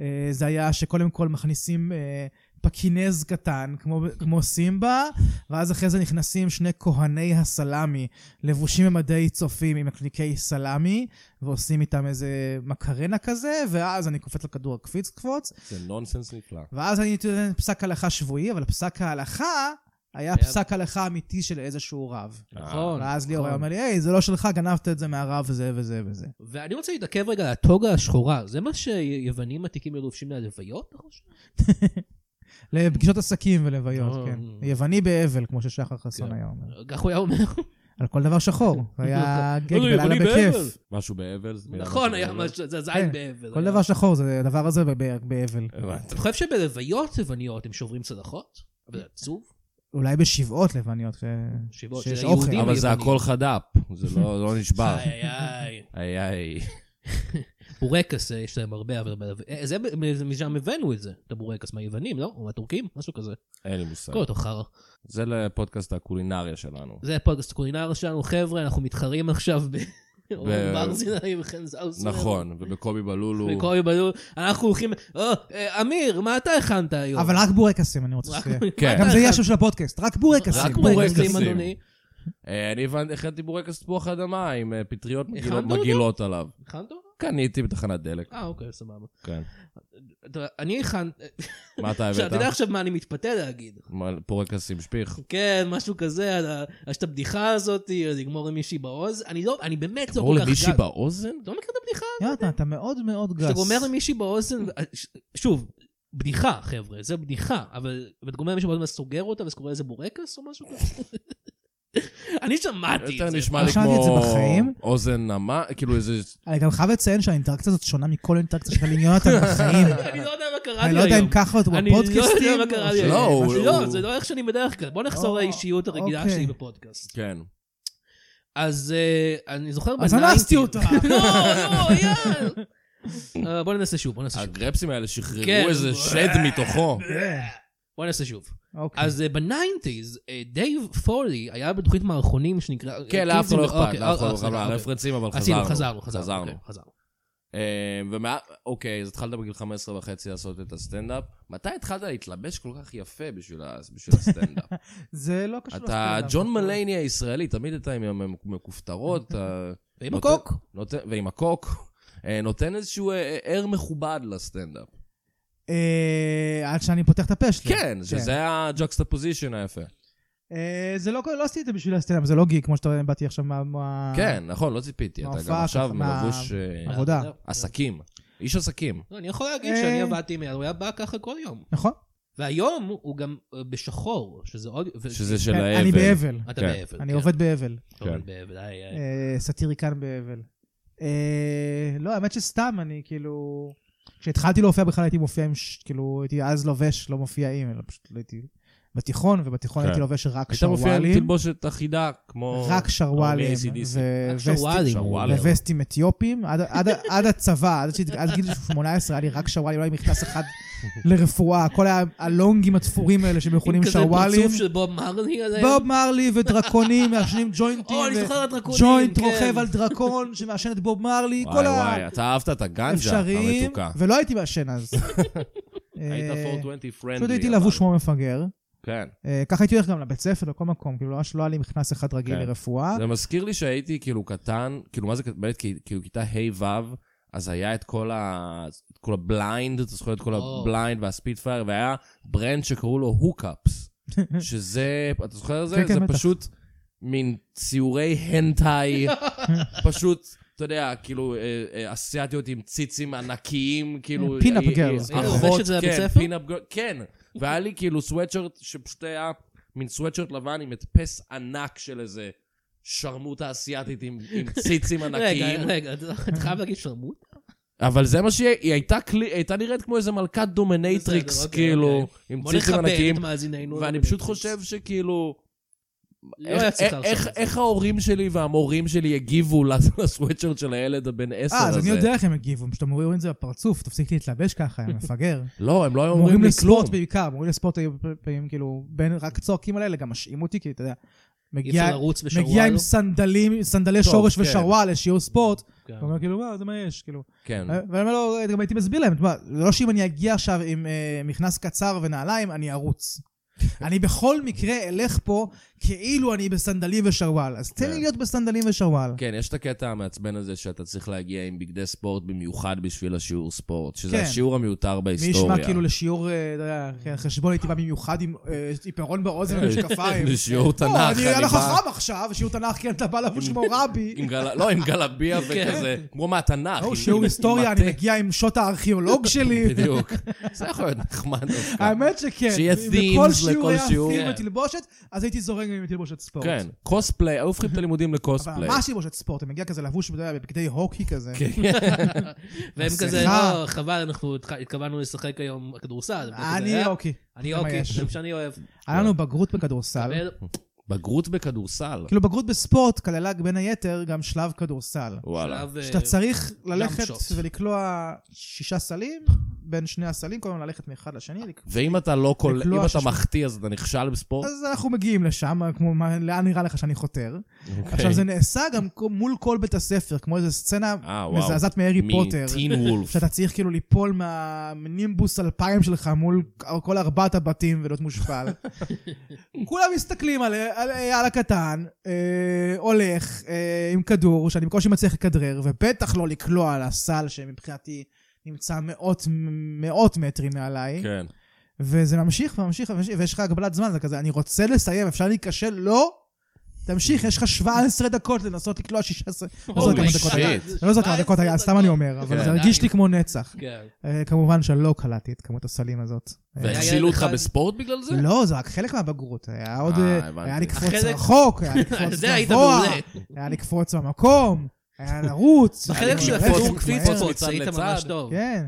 Speaker 4: אה, זה היה שקודם כל מכניסים... אה, פקינז קטן, כמו, כמו סימבה, ואז אחרי זה נכנסים שני כהני הסלאמי, לבושים במדי צופים עם מקניקי סלאמי, ועושים איתם איזה מקרנה כזה, ואז אני קופץ לכדור הקפיץ קפוץ,
Speaker 2: זה נונסנס נפלא.
Speaker 4: ואז אני נותן פסק הלכה שבועי, אבל פסק ההלכה היה
Speaker 3: היה-
Speaker 4: פסק הלכה אמיתי של איזשהו רב.
Speaker 3: נכון.
Speaker 4: ואז ליאור
Speaker 3: נכון.
Speaker 4: היה אומר לי, היי, זה לא שלך, גנבת את זה מהרב וזה וזה וזה.
Speaker 3: ואני רוצה להתעכב רגע על הטוגה השחורה, זה מה שיוונים עתיקים היו לובשים ללוויות? אתה חושב?
Speaker 4: לפגישות עסקים ולוויות,
Speaker 3: אה.
Speaker 4: כן. יווני באבל, כמו ששחר חסון
Speaker 3: כן.
Speaker 4: היה אומר.
Speaker 3: כך הוא היה אומר.
Speaker 2: *laughs*
Speaker 4: על כל דבר שחור.
Speaker 3: *laughs*
Speaker 4: זה היה גג
Speaker 3: לא,
Speaker 4: בלילה
Speaker 3: יווני באבל.
Speaker 4: בכיף.
Speaker 2: משהו באבל? זה מילה
Speaker 3: נכון,
Speaker 2: משהו
Speaker 3: היה
Speaker 2: באבל?
Speaker 3: משהו, זה זין
Speaker 4: כן,
Speaker 3: באבל.
Speaker 4: כל
Speaker 3: היה.
Speaker 4: דבר שחור, זה הדבר הזה בב- באבל.
Speaker 2: הבנתי.
Speaker 3: אתה חושב שבלוויות יווניות הם שוברים צלחות? אבל זה עצוב.
Speaker 4: אולי בשבעות לבניות. אה,
Speaker 3: שבעות
Speaker 4: שיש
Speaker 3: של
Speaker 4: אוכל.
Speaker 3: היהודים
Speaker 2: אבל זה
Speaker 3: היוונים.
Speaker 2: הכל חד"פ, זה לא לא
Speaker 3: *laughs*
Speaker 2: נשבר.
Speaker 3: איי, איי.
Speaker 2: איי איי.
Speaker 3: בורקס אה, יש להם הרבה, אבל... בלו- אה, זה ב- זה משם הבאנו את זה, את הבורקס מהיוונים, לא? או מהטורקים? משהו כזה.
Speaker 2: אין לי מושג.
Speaker 3: כל אותו חרא.
Speaker 2: זה לפודקאסט הקולינריה שלנו.
Speaker 3: זה הפודקאסט הקולינר שלנו, חבר'ה, אנחנו מתחרים עכשיו ב... אורן ברזילי וחן זאוסמן.
Speaker 2: נכון, ובקובי בלולו.
Speaker 3: וקובי בלול, אנחנו הולכים, "אה, אה, אמיר, מה אתה הכנת היום?
Speaker 4: אבל רק בורקסים, אני רוצה
Speaker 3: רק-
Speaker 4: שיהיה.
Speaker 2: כן.
Speaker 4: גם זה יהיה שם של הפודקאסט, רק בורקסים.
Speaker 3: רק
Speaker 2: בורקסים.
Speaker 3: בורקסים, אדוני.
Speaker 2: אה, אני הבנתי, הכנתי בורקס תפוח אדמה עם אה, פטריות מגילות-
Speaker 3: הכנת אותו?
Speaker 2: מגעילות עליו.
Speaker 3: הכנת אותו?
Speaker 2: קניתי בתחנת דלק.
Speaker 3: אה, אוקיי, סבבה.
Speaker 2: כן.
Speaker 3: אתה יודע, אני הכנתי,
Speaker 2: מה אתה
Speaker 3: *laughs* עכשיו, אתה יודע
Speaker 2: הבאת?
Speaker 3: עכשיו מה אני מתפתה להגיד.
Speaker 2: מה, בורקס עם שפיך.
Speaker 3: כן, משהו כזה, על ה- יש את הבדיחה הזאת, אז לגמור עם מישהי באוז. אני לא, אני באמת לא
Speaker 2: אמרו
Speaker 3: כל כך
Speaker 2: למישהי
Speaker 3: גג.
Speaker 2: באוזן?
Speaker 3: אתה לא מכיר את הבדיחה?
Speaker 4: יונתן, אתה מאוד מאוד גס.
Speaker 3: כשאתה גומר עם מישהי באוזן, ו- ש- שוב, בדיחה, חבר'ה, זה בדיחה, אבל אם אתה גומר עם מישהו באוזן, אז סוגר אותה, ואז קורא לזה בורקס או משהו כזה? *laughs* אני שמעתי
Speaker 2: יותר
Speaker 3: את זה.
Speaker 2: נשמע
Speaker 3: *laughs*
Speaker 4: לא
Speaker 2: לי
Speaker 4: שמעתי את זה
Speaker 2: כמו
Speaker 4: בחיים.
Speaker 2: אוזן נמה, כאילו איזה...
Speaker 4: אני גם חייב לציין שהאינטראקציה הזאת שונה מכל אינטראקציה שלך עם יונתן בחיים.
Speaker 3: אני לא יודע מה *laughs* קרה לי היום.
Speaker 4: אני לא יודע אם ככה אותו
Speaker 3: אני לא יודע
Speaker 4: בפודקאסטים.
Speaker 3: מה קרה
Speaker 4: או
Speaker 3: לי
Speaker 4: ש-
Speaker 2: לא,
Speaker 3: היום.
Speaker 2: הוא-
Speaker 3: לא,
Speaker 2: הוא-
Speaker 3: זה לא איך שאני בדרך כלל. בוא נחזור
Speaker 4: או,
Speaker 3: לאישיות הרגילה
Speaker 4: אוקיי.
Speaker 3: שלי בפודקאסט.
Speaker 2: כן.
Speaker 3: אז אה, אני זוכר
Speaker 4: אז
Speaker 3: בניינטיז-
Speaker 4: אנסתי אותה.
Speaker 3: *laughs* לא, לא, יאללה. *laughs* אה, בוא ננסה שוב, בוא ננסה שוב.
Speaker 2: הגרפסים האלה
Speaker 3: כן.
Speaker 2: שחררו איזה שד
Speaker 3: *laughs*
Speaker 2: מתוכו. כן,
Speaker 4: אה,
Speaker 3: בוא ננסה שוב.
Speaker 4: אוקיי.
Speaker 3: אז אה, בניינטיז, אה, דייב פולי היה בתוכנית מערכונים שנקרא...
Speaker 2: כן, לאף אחד לא אכפת,
Speaker 3: אוקיי,
Speaker 2: לאף אחד לא אכפת.
Speaker 3: אוקיי, אוקיי.
Speaker 2: הרפרנסים, אבל
Speaker 3: עשינו,
Speaker 2: חזרנו.
Speaker 3: חזרנו, חזרנו. אוקיי, חזרנו.
Speaker 2: אה, ומה... אוקיי, אז התחלת בגיל 15 וחצי לעשות את הסטנדאפ. מתי התחלת להתלבש כל כך יפה בשביל ה- בשביל
Speaker 4: *laughs*
Speaker 2: הסטנדאפ?
Speaker 4: זה לא קשור.
Speaker 2: אתה
Speaker 4: לסטנדאפ.
Speaker 2: ג'ון מלייני הישראלי, תמיד אתה עם המכופתרות,
Speaker 4: *laughs*
Speaker 2: אתה
Speaker 3: ועם
Speaker 2: נותן-
Speaker 3: הקוק.
Speaker 2: נותן- ועם הקוק, אה, נותן איזשהו אה, ער מכובד לסטנדאפ.
Speaker 4: אה, עד שאני פותח את הפה שלי.
Speaker 2: כן, שזה הג'קסטפוזיישן היפה.
Speaker 4: אה, זה לא, לא עשיתי את זה בשביל הסטנדאפ, זה לא גיג, כמו שאתה רואה, באתי עכשיו מה... מה-
Speaker 2: כן, נכון, לא ציפיתי. אתה גם
Speaker 4: ההופעה
Speaker 2: עכשיו
Speaker 4: ככה, מה-
Speaker 2: מלבוש אה,
Speaker 4: עבודה.
Speaker 3: זהו.
Speaker 2: עסקים. איש עסקים.
Speaker 3: לא, אני יכול להגיד
Speaker 4: אה.
Speaker 3: שאני עבדתי עם אייל, הוא היה בא ככה כל יום.
Speaker 4: נכון?
Speaker 3: והיום הוא גם אה, בשחור, שזה עוד... ו-
Speaker 2: שזה של
Speaker 4: כן,
Speaker 2: האבל.
Speaker 4: אני באבל.
Speaker 3: אתה
Speaker 2: כן.
Speaker 3: באבל.
Speaker 4: אני
Speaker 3: כן.
Speaker 4: עובד באבל.
Speaker 3: אתה עובד
Speaker 2: כן.
Speaker 3: באבל, איי, איי.
Speaker 4: אה, סאטיריקן באבל. אה, לא, האמת שסתם, אני כאילו... כשהתחלתי להופיע בכלל הייתי מופיע עם... ש- כאילו, הייתי אז לובש, לא מופיע עם, אלא פשוט הייתי בתיכון, ובתיכון
Speaker 2: כן.
Speaker 4: הייתי לובש רק
Speaker 2: הייתה מופיעה עם
Speaker 4: שרוואלים.
Speaker 2: תלבושת אחידה, כמו...
Speaker 4: רק שרוואלים.
Speaker 2: הרבה ACDC.
Speaker 4: ו-
Speaker 3: רק
Speaker 4: וסטים-
Speaker 3: אה, שרוואלים.
Speaker 2: שרוואלים.
Speaker 4: וווסטים אתיופים, עד- עד- עד הצבא, עד שהת- עד גיל 18 היה לי רק שרוואלים, לא היה לי מכנס אחד לרפואה, כל ה- הלונגים התפורים האלה
Speaker 3: עם
Speaker 4: שמכונים
Speaker 3: כזה
Speaker 4: שרוואלים.
Speaker 3: פרצוף של בוב מרלי עליהם.
Speaker 4: בוב מרלי ודרקונים מעשנים ג'וינטים.
Speaker 3: או, אני
Speaker 4: ו-
Speaker 3: זוכר את הדרקונים,
Speaker 4: ג'וינט
Speaker 3: כן.
Speaker 4: רוכב על דרקון *laughs* שמעשן את בוב מרלי, כל
Speaker 2: וואי וואי, אתה אהבת את הגנג'ה
Speaker 4: האפשריים.
Speaker 2: המתוקה.
Speaker 4: ולא הייתי מעשן
Speaker 2: *laughs*
Speaker 4: אז.
Speaker 2: היית
Speaker 4: אה,
Speaker 2: 420 פרנדלי.
Speaker 4: פשוט הייתי
Speaker 2: אבל-
Speaker 4: לבוש כמו מפגר.
Speaker 2: כן.
Speaker 4: אה, ככה הייתי הולך גם לבית ספר, לכל מקום, כאילו ממש לא היה לי מכנס אחד רגיל
Speaker 2: כן.
Speaker 4: לרפואה.
Speaker 2: זה מזכיר לי שהייתי כאילו קטן, כאילו מה זה, באמת כי- כאילו כיתה ה'-ו', אז היה את כל ה... את כל הבליינד, אתה זוכר את כל
Speaker 3: או.
Speaker 2: הבליינד והספיטפייר, והיה ברנד שקראו לו הוקאפס. שזה, אתה זוכר את זה?
Speaker 4: כן, כן,
Speaker 2: זה
Speaker 4: בטח.
Speaker 2: פשוט מין ציורי הנטאי, פשוט, אתה יודע, כאילו, אה, אה, אסיאתיות עם ציצים ענקיים, כאילו...
Speaker 4: פינאפ
Speaker 2: אה, אה,
Speaker 4: גרלס.
Speaker 2: אה,
Speaker 3: היית
Speaker 2: אחות,
Speaker 3: לובש את זה
Speaker 2: כן,
Speaker 3: בבית ספר?
Speaker 2: פינאפ גרל- כן, והיה לי כאילו סוואטשרט שפשוט היה מין סוואטשרט לבן עם הדפס ענק של איזה שרמוטה אסיאתית עם עם ציצים
Speaker 3: רגע,
Speaker 2: ענקיים.
Speaker 3: רגע, אתה- אתה חייב להגיד שרמוט?
Speaker 2: אבל זה מה שהיא היא הייתה, כלי- הייתה נראית כמו איזה מלכת
Speaker 3: בסדר,
Speaker 2: דומינטריקס,
Speaker 3: אוקיי,
Speaker 2: כאילו,
Speaker 3: אוקיי.
Speaker 2: עם
Speaker 3: בוא
Speaker 2: ציצים
Speaker 3: נכבד
Speaker 2: ענקיים.
Speaker 3: את מאזיננו.
Speaker 2: ואני פשוט חושב שכאילו...
Speaker 3: לא
Speaker 2: איך-
Speaker 3: היה צריך
Speaker 2: איך-
Speaker 3: להרשות
Speaker 2: איך-
Speaker 3: את זה.
Speaker 2: איך ההורים שלי והמורים שלי הגיבו *laughs* לסוואטשרט של הילד הבן עשר הזה?
Speaker 4: אה, אז אני יודע איך הם הגיבו, פשוט אמרו רואים את זה בפרצוף, תפסיק להתלבש ככה, יא מפגר.
Speaker 2: *laughs* לא, הם לא היו אומרים
Speaker 4: מורים
Speaker 2: לי כלום.
Speaker 4: לספורט בעיקר, מורים לספורט היו פעמים כאילו, בין רק צועקים עליי, אלא גם משעים אותי, כי אתה יודע,
Speaker 3: אי
Speaker 4: מגיע-
Speaker 3: אפשר לרוץ לא
Speaker 4: מגיע
Speaker 3: בשרוואל.
Speaker 4: עם סנדלים, סנדלי
Speaker 2: טוב,
Speaker 4: שורש
Speaker 2: כן. אה.
Speaker 4: ושרוואלה, שיהיו ספורט,
Speaker 3: כן.
Speaker 4: הוא אומר כאילו, מה, זה מה יש, כאילו.
Speaker 2: כן.
Speaker 4: ואני אומר לו, "אה, גם הייתי מסביר להם, תשמע, זה לא שאם אני אגיע עכשיו עם אה, מכנס קצר ונעליים,
Speaker 2: *laughs*
Speaker 4: אני ארוץ. אני בכל מקרה אלך פה כאילו אני בסנדלים ושוואל, אז תן
Speaker 2: כן.
Speaker 4: לי להיות בסנדלים ושוואל.
Speaker 2: כן, יש את הקטע המעצבן הזה שאתה צריך להגיע עם בגדי ספורט במיוחד בשביל השיעור ספורט, שזה
Speaker 4: כן.
Speaker 2: השיעור המיותר
Speaker 4: מי
Speaker 2: בהיסטוריה.
Speaker 4: ישמע כאילו לשיעור, אה, אתה יודע, כן, חשבון הייתי בא במיוחד עם אה,
Speaker 2: *laughs*
Speaker 4: עיפרון באוזן ומשקפיים.
Speaker 2: זה אה, שיעור תנ"ך,
Speaker 4: לא, אני
Speaker 2: אני
Speaker 4: אהיה
Speaker 2: בא-
Speaker 4: לך חם עכשיו, שיעור תנ"ך, כן, אתה בא לבוש כמו רבי.
Speaker 2: עם גל... לא, עם
Speaker 4: *laughs*
Speaker 2: גלביה וכזה, כמו מהתנ"ך.
Speaker 4: כן. לא,
Speaker 2: עם-
Speaker 4: שיעור
Speaker 2: עם
Speaker 4: היסטוריה, אני
Speaker 2: מטה.
Speaker 4: מגיע עם שוט
Speaker 2: *laughs*
Speaker 4: הארכיאולוג שלי.
Speaker 2: בדיוק. זה יכול להיות נחמד דווקא.
Speaker 4: האמת שכן.
Speaker 2: שיהיה
Speaker 4: אם
Speaker 2: themes
Speaker 4: בכל שיעור
Speaker 2: לכל
Speaker 4: היה
Speaker 2: שיעור.
Speaker 4: theme
Speaker 3: כן.
Speaker 4: ותלבושת, אז הייתי זורק עם תלבושת ספורט.
Speaker 2: כן, קוספליי, היו הופכים את הלימודים
Speaker 4: לא. אבל
Speaker 2: לקוספליי.
Speaker 4: ממש תלבושת ספורט, אתה מגיע כזה לבוש, אתה יודע, בבגדי הוקי כזה.
Speaker 3: והם כזה,
Speaker 4: סליחה.
Speaker 3: לא, חבל, אנחנו התח- התכוונו לשחק היום כדורסל. וכזה,
Speaker 4: אני
Speaker 3: אה,
Speaker 4: הוקי.
Speaker 3: אני
Speaker 4: זה מה
Speaker 3: אוקיי,
Speaker 4: יש.
Speaker 3: זה מה שאני אוהב.
Speaker 4: היה לנו בגרות בכדורסל.
Speaker 2: בגרות בכדורסל.
Speaker 4: כאילו בגרות בספורט כללה בין היתר גם שלב כדורסל.
Speaker 2: וואלה.
Speaker 3: שלב, אה,
Speaker 4: שאתה לא צריך ללכת
Speaker 3: שוט.
Speaker 4: ולקלוע שישה סלים, בין שני הסלים, כל הזמן ללכת מאחד לשני. לק-
Speaker 2: ואם אתה לא כל...
Speaker 4: לקלוע
Speaker 2: אם אתה
Speaker 4: שש-
Speaker 2: מחטיא אז אתה נכשל בספורט?
Speaker 4: אז אנחנו מגיעים לשם, כמו מה- לאן נראה לך שאני חותר.
Speaker 2: אוקיי.
Speaker 4: עכשיו זה נעשה גם כ- מול כל בית הספר, כמו איזו סצנה
Speaker 2: אה, וואו.
Speaker 4: מזעזעת מהארי פוטר.
Speaker 2: מטין וולף.
Speaker 4: שאתה צריך כאילו ליפול מהנימבוס אלפיים שלך מול כל ארבעת הבתים ולהיות מושפל. כולם מסתכלים על על אייל הקטן, אה, הולך אה, עם כדור שאני בקושי מצליח לכדרר, ובטח לא לקלוע על הסל שמבחינתי נמצא מאות, מאות מטרים מעליי,
Speaker 2: כן.
Speaker 4: וזה ממשיך וממשיך וממשיך, ויש לך הגבלת זמן, זה כזה, אני רוצה לסיים, אפשר להיכשל? לא! תמשיך, יש לך 17 דקות לנסות לקלוע 16... לא זוכר כמה
Speaker 2: Holy
Speaker 4: דקות
Speaker 2: shit.
Speaker 4: היה. אני לא זוכר כמה דקות היה, סתם אני אומר, אבל
Speaker 2: כן.
Speaker 4: זה הרגיש לי כמו נצח.
Speaker 3: כן.
Speaker 4: אה, כמובן שלא קלטתי את כמות הסלים הזאת. אה,
Speaker 2: והכשילו אותך
Speaker 3: אחד-
Speaker 2: בספורט בגלל זה?
Speaker 3: *laughs*
Speaker 4: לא, זה רק חלק מהבגרות. היה עוד...
Speaker 2: אה,
Speaker 4: אה,
Speaker 2: הבנתי.
Speaker 4: היה לקפוץ
Speaker 3: החלק-
Speaker 4: רחוק,
Speaker 3: *laughs*
Speaker 4: היה
Speaker 3: על
Speaker 4: לקפוץ
Speaker 3: זה היית
Speaker 4: גבוה,
Speaker 3: מעולה.
Speaker 4: היה לקפוץ במקום, היה לרוץ. היה
Speaker 3: בחלק של
Speaker 4: ללכת
Speaker 3: הכדור
Speaker 4: מהר.
Speaker 3: קפיץ פה,
Speaker 2: מצד
Speaker 3: היית
Speaker 2: לצד.
Speaker 3: ממש טוב.
Speaker 4: כן.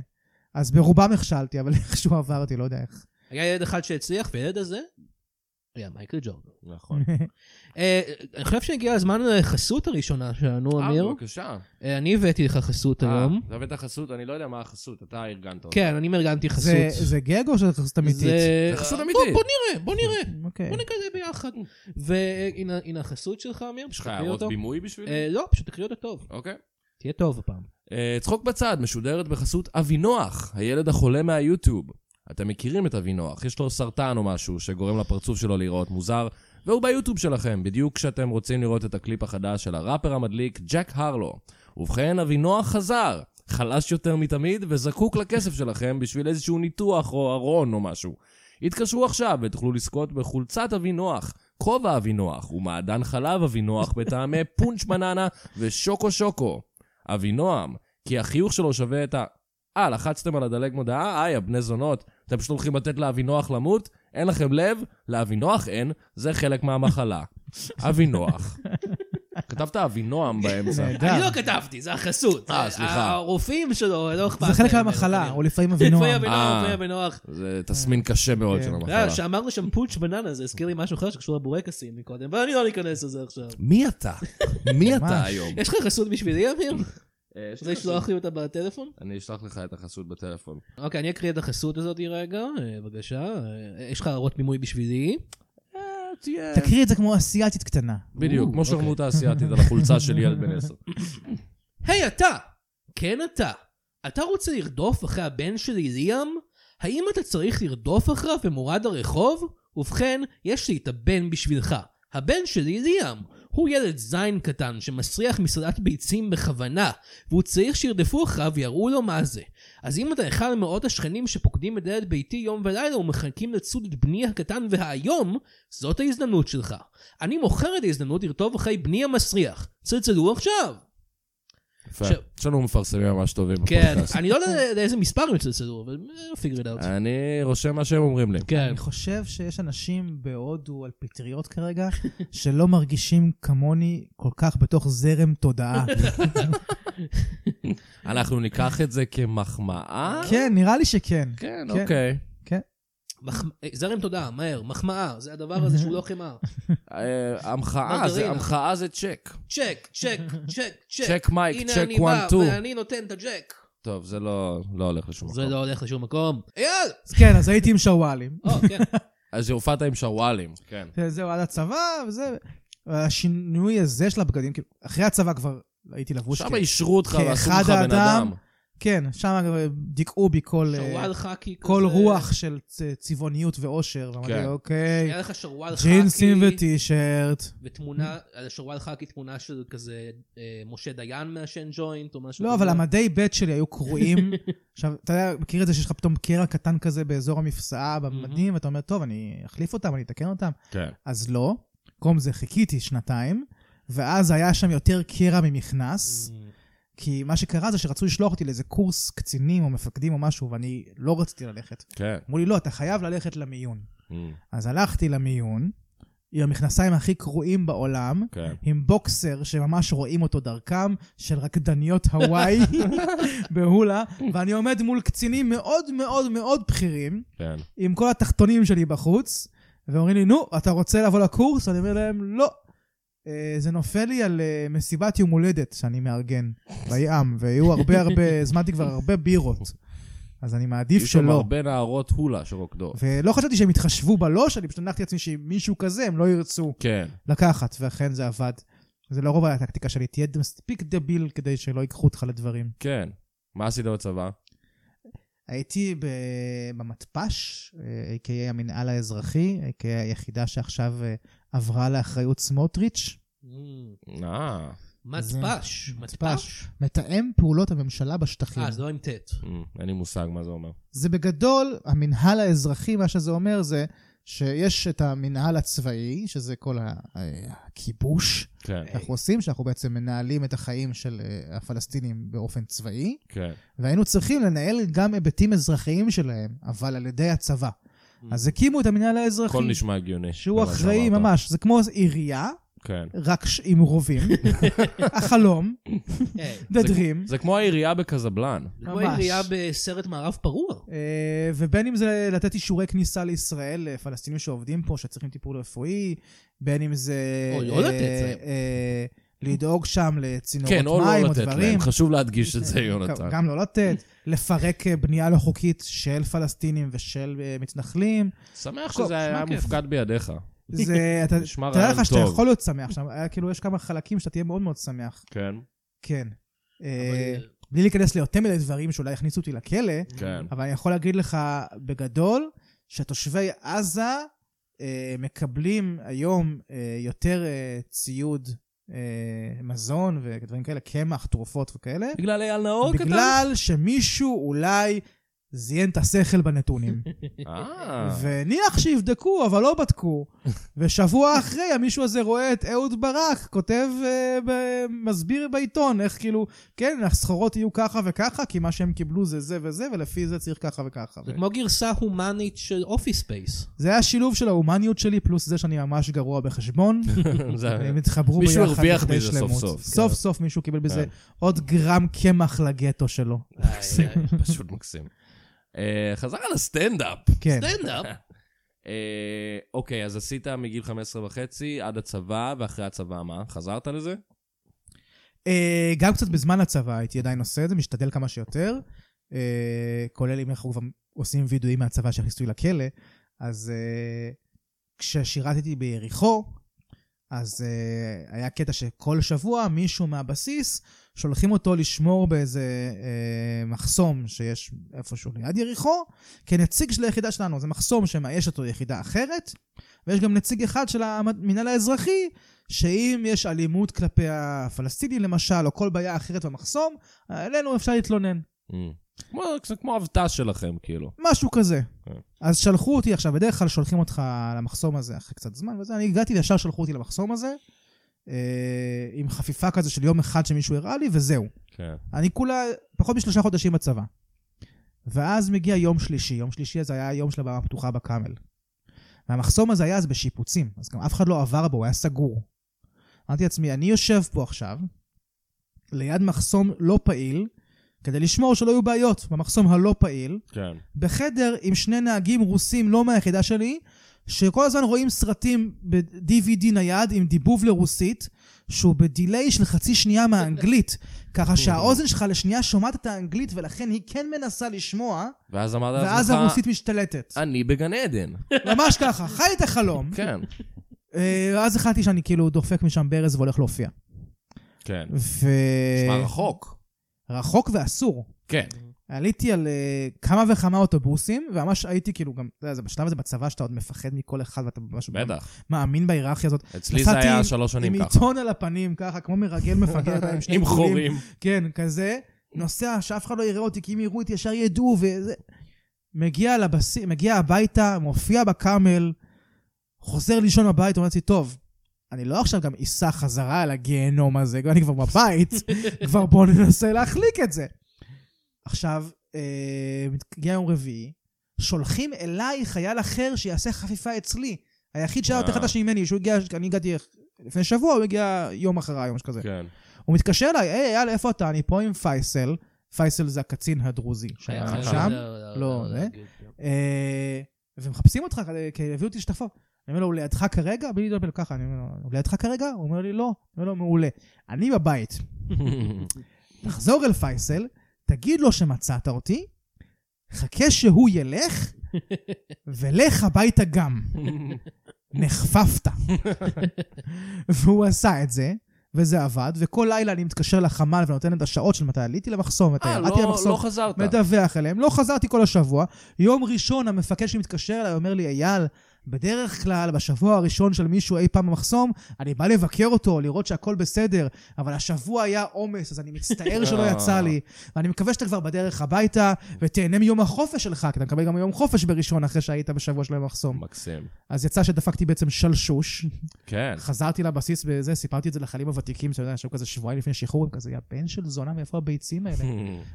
Speaker 4: אז ברובם נכשלתי, אבל *laughs* איכשהו עברתי, לא יודע איך.
Speaker 3: היה ילד אחד שהצליח, והילד הזה היה מייקל ג'ורדן.
Speaker 2: נכון.
Speaker 3: אה, אני חושב שהגיע הזמן לחסות הראשונה שלנו,
Speaker 2: אה,
Speaker 3: אמיר.
Speaker 4: אוקיי.
Speaker 2: בבקשה.
Speaker 3: אה, אני הבאתי לך חסות היום.
Speaker 2: אה, אתה הבאת חסות? אני לא יודע מה החסות, אתה ארגנת אותה.
Speaker 3: כן, אני ארגנתי חסות.
Speaker 4: זה- זה גג או שזה חסות אמיתית?
Speaker 3: זה-
Speaker 2: נכון. זה חסות
Speaker 3: בוא-
Speaker 2: אמיתית. כן.
Speaker 3: בוא נראה, בוא נראה.
Speaker 4: אוקיי.
Speaker 3: בוא נקרא את זה ביחד. והנה הנה החסות שלך, אמיר.
Speaker 2: יש לך
Speaker 3: תקריא
Speaker 2: הערות
Speaker 3: אותו.
Speaker 2: בימוי בשבילי?
Speaker 3: אה, לא, פשוט תקריא אותו טוב.
Speaker 2: אוקיי.
Speaker 3: תהיה טוב הפעם.
Speaker 2: אה, צחוק בצד משודרת בחסות אבינוח, הילד החולה מהיוטיוב. אתם מכירים את אבינוח, יש לו סרטן או משהו שגורם לפרצוף שלו להיראות מוזר, והוא ביוטיוב שלכם, בדיוק כשאתם רוצים לראות את הקליפ החדש של הראפר המדליק, ג'ק הרלו. ובכן, אבינוח חזר, חלש יותר מתמיד וזקוק לכסף שלכם בשביל איזשהו ניתוח או ארון או משהו. התקשרו עכשיו ותוכלו לזכות בחולצת אבינוח, כובע אבינוח ומעדן חלב אבינוח בטעמי *laughs* פונץ' בננה ושוקו שוקו. אבינועם, כי החיוך שלו שווה את ה... אה, לחצתם על הדלג מודעה? היי, הבני זונות, אתם פשוט הולכים לתת לאבינוח למות? אין לכם לב? לאבינוח אין, זה חלק מהמחלה. אבינוח. כתבת אבינועם באמצע.
Speaker 4: נהדר.
Speaker 3: אני לא כתבתי, זה החסות.
Speaker 2: אה, סליחה.
Speaker 3: הרופאים שלו, לא אכפת.
Speaker 4: זה חלק
Speaker 3: להם
Speaker 4: מהמחלה,
Speaker 3: ממנו.
Speaker 4: או לפעמים
Speaker 3: לפעמים
Speaker 4: אבינועם.
Speaker 2: אה.
Speaker 3: הבינוח, לפעמים הבינוח.
Speaker 2: זה תסמין קשה מאוד של
Speaker 3: אתה יודע,
Speaker 2: המחלה.
Speaker 3: אה, כשאמרנו שם פונץ' בננה, זה הזכיר לי משהו אחר שקשור לבורקסים מקודם, אבל אני לא ניכנס לזה עכשיו.
Speaker 2: מי אתה? מי אתה
Speaker 4: ממש.
Speaker 2: היום?
Speaker 3: יש לך חסות בשבילי,
Speaker 2: *laughs*
Speaker 3: אמיר? רוצה לשלוח אה, לי אותה בטלפון?
Speaker 2: אני אשלח לך את החסות בטלפון.
Speaker 3: אוקיי, אני אקריא את החסות הזאת רגע, אה, בבקשה. אה, יש לך הערות מימוי בשבילי? אה,
Speaker 2: תהיה...
Speaker 4: תקריא את זה כמו אסיאתית קטנה.
Speaker 2: בדיוק,
Speaker 3: או,
Speaker 2: כמו
Speaker 3: אוקיי.
Speaker 2: שרמוטה האסייתית על החולצה של ילד בן עשר.
Speaker 3: היי אתה! כן אתה. אתה רוצה לרדוף אחרי הבן שלי ליאם? האם אתה צריך לרדוף אחריו במורד הרחוב? ובכן, יש לי את הבן בשבילך. הבן שלי ליאם. הוא ילד זין קטן שמסריח מסעדת ביצים בכוונה, והוא צריך שירדפו אחריו ויראו לו מה זה. אז אם אתה אחד מאות השכנים שפוקדים את דלת ביתי יום ולילה ומחכים לצוד את בני הקטן והאיום, זאת ההזדמנות שלך. אני מוכר את ההזדמנות לרטוב אחרי בני המסריח. צלצלו עכשיו!
Speaker 2: יפה.
Speaker 3: עכשיו-
Speaker 2: יש לנו מפרסמים ממש טובים
Speaker 3: כן,
Speaker 2: בפודקאסט.
Speaker 3: אני לא יודע לאיזה מספר הם יצלצלו, אבל אה, פיגר את
Speaker 4: אה.
Speaker 3: האוצר.
Speaker 2: אני רושם מה שהם אומרים לי.
Speaker 3: כן.
Speaker 4: אני חושב שיש אנשים בהודו על פטריות כרגע, *laughs* שלא מרגישים כמוני כל כך בתוך זרם תודעה.
Speaker 2: אנחנו ניקח את זה כמחמאה?
Speaker 4: כן, נראה לי שכן.
Speaker 2: כן,
Speaker 4: כן.
Speaker 2: אוקיי.
Speaker 3: מחמ- אה, זרם תודה, מהר, מחמאה, זה הדבר הזה שהוא לא חמאה.
Speaker 2: אה, המחאה, זה-
Speaker 3: מרגרינה.
Speaker 2: המחאה זה צ'ק.
Speaker 3: צ'ק, צ'ק, צ'ק, צ'ק.
Speaker 2: צ'ק מייק,
Speaker 3: הנה
Speaker 2: צ'ק
Speaker 3: אני
Speaker 2: 1,
Speaker 3: בא
Speaker 2: 2.
Speaker 3: ואני נותן את הג'ק.
Speaker 2: טוב, זה לא לא הולך לשום
Speaker 3: זה
Speaker 2: מקום.
Speaker 3: לא הולך לשום מקום.
Speaker 4: *laughs*
Speaker 3: אייל!
Speaker 4: אז כן, אז הייתי עם שרוואלים.
Speaker 3: או, כן.
Speaker 2: אז הופעת עם שרוואלים. כן.
Speaker 4: זהו, עד הצבא, וזה... השינוי הזה של הבגדים, כאילו, אחרי הצבא כבר הייתי לבוש.
Speaker 2: שם
Speaker 4: כאילו.
Speaker 2: אישרו אותך
Speaker 4: כאחד
Speaker 2: ועשו לך בן
Speaker 4: האדם,
Speaker 2: אדם.
Speaker 4: כן, שם כבר דיכאו בי כל... אה,
Speaker 3: שרוואל חאקי כזה.
Speaker 4: כל רוח של צ- צבעוניות ואושר, ואמרתי,
Speaker 2: כן.
Speaker 4: אוקיי,
Speaker 3: היה לך שרוואל חאקי.
Speaker 4: ג'ינסים וטישרט.
Speaker 3: ותמונה, על השרוואל חאקי תמונה של כזה אה, משה דיין מעשן ג'וינט או משהו.
Speaker 4: לא,
Speaker 3: כזה.
Speaker 4: אבל המדי ב' שלי היו קרועים. עכשיו, אתה יודע, מכיר את זה שיש לך פתאום קרע קטן כזה באזור המפסעה במדים, ואתה אומר, טוב, אני אחליף אותם, אני אתקן אותם.
Speaker 2: כן.
Speaker 4: אז לא. במקום זה חיכיתי שנתיים, ואז היה שם יותר קרע ממכנס,
Speaker 3: Mm-hmm. Mm,
Speaker 4: כי מה שקרה זה שרצו לשלוח אותי לאיזה קורס קצינים או מפקדים או משהו, ואני לא רציתי ללכת.
Speaker 2: כן.
Speaker 4: אמרו לי, לא, אתה חייב ללכת למיון.
Speaker 2: אמ,
Speaker 4: אז הלכתי למיון, עם המכנסיים הכי קרועים בעולם,
Speaker 2: כן.
Speaker 4: עם בוקסר שממש רואים אותו דרכם, של רקדניות
Speaker 2: *laughs*
Speaker 4: הוואי בהולה, ואני עומד מול קצינים מאוד מאוד מאוד בכירים,
Speaker 2: כן.
Speaker 4: עם כל התחתונים שלי בחוץ, ואומרים לי, נו, אתה רוצה לבוא לקורס? אני אומר להם, לא. אה, זה נופל לי על אה, מסיבת יום הולדת שאני מארגן בים, ויהיו הרבה
Speaker 2: *laughs*
Speaker 4: הרבה, הזמנתי כבר הרבה בירות. אז אני מעדיף
Speaker 2: יש שם
Speaker 4: שלא.
Speaker 2: הרבה נערות הולה שרוקדות.
Speaker 4: ולא חשבתי שהם יתחשבו בלוש, אני פשוט הנחתי לעצמי שאם מישהו כזה, הם לא ירצו
Speaker 2: כן.
Speaker 4: לקחת, ואכן זה עבד. זה לרוב היה הטקטיקה שלי, תהיה מספיק דביל כדי שלא ייקחו אותך לדברים.
Speaker 2: כן. מה עשית בצבא?
Speaker 4: הייתי ב- במתפ"ש, אה, a.k.a המנהל האזרחי, a.k.a היחידה שעכשיו אה, עברה לאחריות סמוטריץ',
Speaker 3: אמ,
Speaker 2: אה.
Speaker 3: מטפש. מטפש.
Speaker 4: מטפש. מתאם פעולות הממשלה בשטחים.
Speaker 3: אה, זה לא עם
Speaker 4: *laughs*
Speaker 3: טט.
Speaker 2: אמ, אין לי מושג מה זה אומר.
Speaker 4: זה בגדול, המנהל האזרחי, מה שזה אומר זה שיש את המנהל הצבאי, שזה כל ה- אה, הכיבוש
Speaker 2: כן.
Speaker 4: שאנחנו עושים, שאנחנו בעצם מנהלים את החיים של אה, הפלסטינים באופן צבאי.
Speaker 2: כן.
Speaker 4: והיינו צריכים לנהל גם היבטים אזרחיים שלהם, אבל על ידי הצבא. אז הקימו את המנהל האזרחי,
Speaker 2: Mm. הכל נשמע הגיוני.
Speaker 4: שהוא
Speaker 2: במה
Speaker 4: אחראי
Speaker 2: שאמרת.
Speaker 4: ממש, זה כמו עירייה,
Speaker 2: כן.
Speaker 4: רק ש- עם
Speaker 2: *laughs*
Speaker 4: רובים. החלום,
Speaker 3: היי,
Speaker 4: The
Speaker 2: זה-
Speaker 4: Dream,
Speaker 2: זה כמו העירייה בקזבלן.
Speaker 3: זה כמו
Speaker 4: ממש.
Speaker 3: עירייה בסרט מערב פרוע.
Speaker 4: אה, ובין אם זה לתת אישורי כניסה לישראל לפלסטינים שעובדים פה, שצריכים טיפול רפואי, בין אם זה...
Speaker 3: או לא
Speaker 4: אה,
Speaker 3: לתת להם.
Speaker 4: אה, לדאוג שם לצינורות
Speaker 2: כן, או לא
Speaker 4: מים או
Speaker 2: לתת להם.
Speaker 4: דברים.
Speaker 2: חשוב להדגיש את זה,
Speaker 4: גם-
Speaker 2: יונתן.
Speaker 4: גם לא לתת, לפרק אה, בנייה לא חוקית של פלסטינים ושל אה, מתנחלים.
Speaker 2: שמח
Speaker 4: טוב,
Speaker 2: שזה היה
Speaker 3: נשמע כיף.
Speaker 2: מופקד בידיך. *laughs*
Speaker 4: זה, אתה,
Speaker 2: נשמע
Speaker 4: תאר
Speaker 2: רעיון
Speaker 4: לך שאתה
Speaker 2: טוב.
Speaker 4: יכול להיות שמח שם, אה, כאילו יש כמה חלקים שאתה תהיה מאוד מאוד שמח,
Speaker 2: כן.
Speaker 4: כן. אה,
Speaker 3: אבל,
Speaker 4: בלי להיכנס ליותר מדי דברים שאולי יכניסו אותי לכלא,
Speaker 2: כן.
Speaker 4: אבל אני יכול להגיד לך בגדול, שתושבי עזה אה, מקבלים היום אה, יותר אה, ציוד, אה, מזון ודברים כאלה, קמח, תרופות וכאלה,
Speaker 2: אוקיי, בגלל אייל נאור
Speaker 4: בגלל שמישהו אולי זיין את השכל בנתונים.
Speaker 2: אה,
Speaker 4: וניח שיבדקו, אבל לא
Speaker 2: *laughs*
Speaker 4: בדקו. ושבוע אחרי, המישהו הזה רואה את אהוד ברק, כותב, אה, ב- מסביר בעיתון איך כאילו, כן, הסחורות יהיו ככה וככה, כי מה שהם קיבלו זה זה וזה, ולפי זה צריך ככה וככה.
Speaker 3: זה כמו גרסה הומנית של אופיס ספייס.
Speaker 4: זה היה שילוב של ההומניות שלי, פלוס זה שאני ממש גרוע
Speaker 2: *laughs*
Speaker 4: בחשבון.
Speaker 2: זה-
Speaker 4: הם התחברו ביחד
Speaker 2: מישהו הרוויח
Speaker 4: לכדי
Speaker 2: מזה סוף
Speaker 4: שלמות.
Speaker 2: סוף, כן.
Speaker 4: סוף סוף מישהו קיבל בזה
Speaker 2: כן.
Speaker 4: עוד גרם קמח לגטו שלו.
Speaker 2: פשוט מקסים. אה, חזרה לסטנדאפ.
Speaker 4: כן.
Speaker 3: סטנדאפ.
Speaker 2: אה, אוקיי, אז עשית מגיל 15 וחצי עד הצבא, ואחרי הצבא מה? חזרת לזה?
Speaker 4: אה, גם קצת בזמן הצבא הייתי עדיין עושה את זה, משתדל כמה שיותר. אה, כולל אם אנחנו כבר עושים וידויים מהצבא שהכניסו לי לכלא. אז אה, כששירתתי ביריחו, אז אה, היה קטע שכל שבוע מישהו מהבסיס, שולחים אותו לשמור באיזה אה, מחסום שיש איפשהו ליד יריחו, כנציג של היחידה שלנו. זה מחסום שמאייש אותו יחידה אחרת, ויש גם נציג אחד של המינהל האזרחי, שאם יש אלימות כלפי הפלסטינים למשל, או כל בעיה אחרת במחסום, אלינו אפשר להתלונן.
Speaker 2: אה. כמו- זה כמו אבטא שלכם, כאילו.
Speaker 4: משהו כזה.
Speaker 2: כן.
Speaker 4: אז שלחו אותי עכשיו, בדרך כלל שולחים אותך למחסום הזה אחרי קצת זמן וזה, אני הגעתי וישר שלחו אותי למחסום הזה, אה, עם חפיפה כזה של יום אחד שמישהו הראה לי, וזהו.
Speaker 2: כן.
Speaker 4: אני כולה פחות משלושה חודשים בצבא. ואז מגיע יום שלישי, יום שלישי הזה היה היום של הבמה הפתוחה בקאמל. והמחסום הזה היה אז בשיפוצים, אז גם אף אחד לא עבר בו, הוא היה סגור. אמרתי לעצמי, אני יושב פה עכשיו, ליד מחסום לא פעיל, כדי לשמור שלא יהיו בעיות במחסום הלא פעיל,
Speaker 2: כן.
Speaker 4: בחדר עם שני נהגים רוסים, לא מהיחידה שלי, שכל הזמן רואים סרטים ב-DVD נייד עם דיבוב לרוסית, שהוא בדיליי של חצי שנייה מהאנגלית, ככה שהאוזן שלך לשנייה שומעת את האנגלית, ולכן היא כן מנסה לשמוע,
Speaker 2: ואז אמרת לעצמך...
Speaker 4: ואז הרוסית משתלטת.
Speaker 2: אני בגן עדן. *laughs*
Speaker 4: ממש ככה, חי את החלום.
Speaker 2: כן.
Speaker 4: אה, ואז החלטתי שאני כאילו דופק משם ברז והולך להופיע.
Speaker 2: כן.
Speaker 4: ו...
Speaker 2: נשמע רחוק.
Speaker 4: רחוק ואסור.
Speaker 2: כן.
Speaker 4: עליתי על אה, כמה וכמה אוטובוסים, וממש הייתי כאילו גם, אתה יודע, זה בשלב הזה בצבא שאתה עוד מפחד מכל אחד ואתה ממש
Speaker 2: בטח.
Speaker 4: מאמין בהיררכיה הזאת.
Speaker 2: אצלי זה
Speaker 4: נסעתי
Speaker 2: היה שלוש שנים
Speaker 4: עם
Speaker 2: ככה.
Speaker 4: עיתון על הפנים, ככה, כמו מרגל מפגר
Speaker 2: *laughs*
Speaker 4: עם שני
Speaker 2: עם
Speaker 4: גבולים. *laughs*
Speaker 2: חורים.
Speaker 4: כן, כזה. נוסע, שאף אחד לא יראה אותי, כי אם יראו אותי ישר ידעו, וזה... מגיע לבסיס, מגיע הביתה, מופיע בקאמל, חוזר לישון בבית, אומר לעצמי, טוב, אני לא עכשיו גם אסע חזרה על הגיהנום הזה, אני כבר בבית, כבר בואו ננסה להחליק את זה. עכשיו, אה, מגיע יום רביעי, שולחים אליי חייל אחר שיעשה חפיפה אצלי. היחיד שהיה יותר
Speaker 2: אה.
Speaker 4: חדש ממני, שהוא הגיע, אני הגעתי לפני שבוע, הוא הגיע יום אחריי, יום שכזה.
Speaker 2: כן.
Speaker 4: הוא מתקשר אליי, היי, יאללה, איפה אתה? אני פה עם פייסל. פייסל זה הקצין הדרוזי שהיה
Speaker 2: אה,
Speaker 4: שם. לא, זה? אה, ומחפשים אותך, כדי- כי הביאו אותי שותפו. אני אומר לו, הוא לידך כרגע? בלי לדבר ככה, אני אומר לו, הוא לידך כרגע? הוא אומר לי, לא. אני אומר לו, מעולה. אני בבית. תחזור אל פייסל, תגיד לו שמצאת אותי, חכה שהוא ילך, ולך הביתה גם. נחפפת. והוא עשה את זה, וזה עבד, וכל לילה אני מתקשר לחמ"ל ונותן להם את השעות של מתי עליתי למחסום, מתי
Speaker 2: אה,
Speaker 4: ירדתי
Speaker 2: לא- לא
Speaker 4: למחסום,
Speaker 2: חזרת.
Speaker 4: מדווח אליהם. לא חזרתי כל השבוע. יום ראשון המפקד שלי מתקשר אליי, אומר לי, אייל, בדרך כלל, בשבוע הראשון של מישהו אי פעם במחסום, אני בא לבקר אותו, לראות שהכל בסדר, אבל השבוע היה עומס, אז אני מצטער
Speaker 2: אה.
Speaker 4: שלא יצא לי. ואני מקווה שאתה כבר בדרך הביתה, ותהנה מיום החופש שלך, כי אתה מקבל גם יום חופש בראשון אחרי שהיית בשבוע של המחסום.
Speaker 2: מקסים.
Speaker 4: אז יצא שדפקתי בעצם שלשוש,
Speaker 2: כן.
Speaker 4: חזרתי לבסיס בזה, סיפרתי את זה לחיילים הוותיקים, שאתה יודע, שהיו כזה שבועיים לפני שחרור, הם כזה, יא בן של זונה, מאיפה
Speaker 3: *laughs*
Speaker 4: הביצים האלה?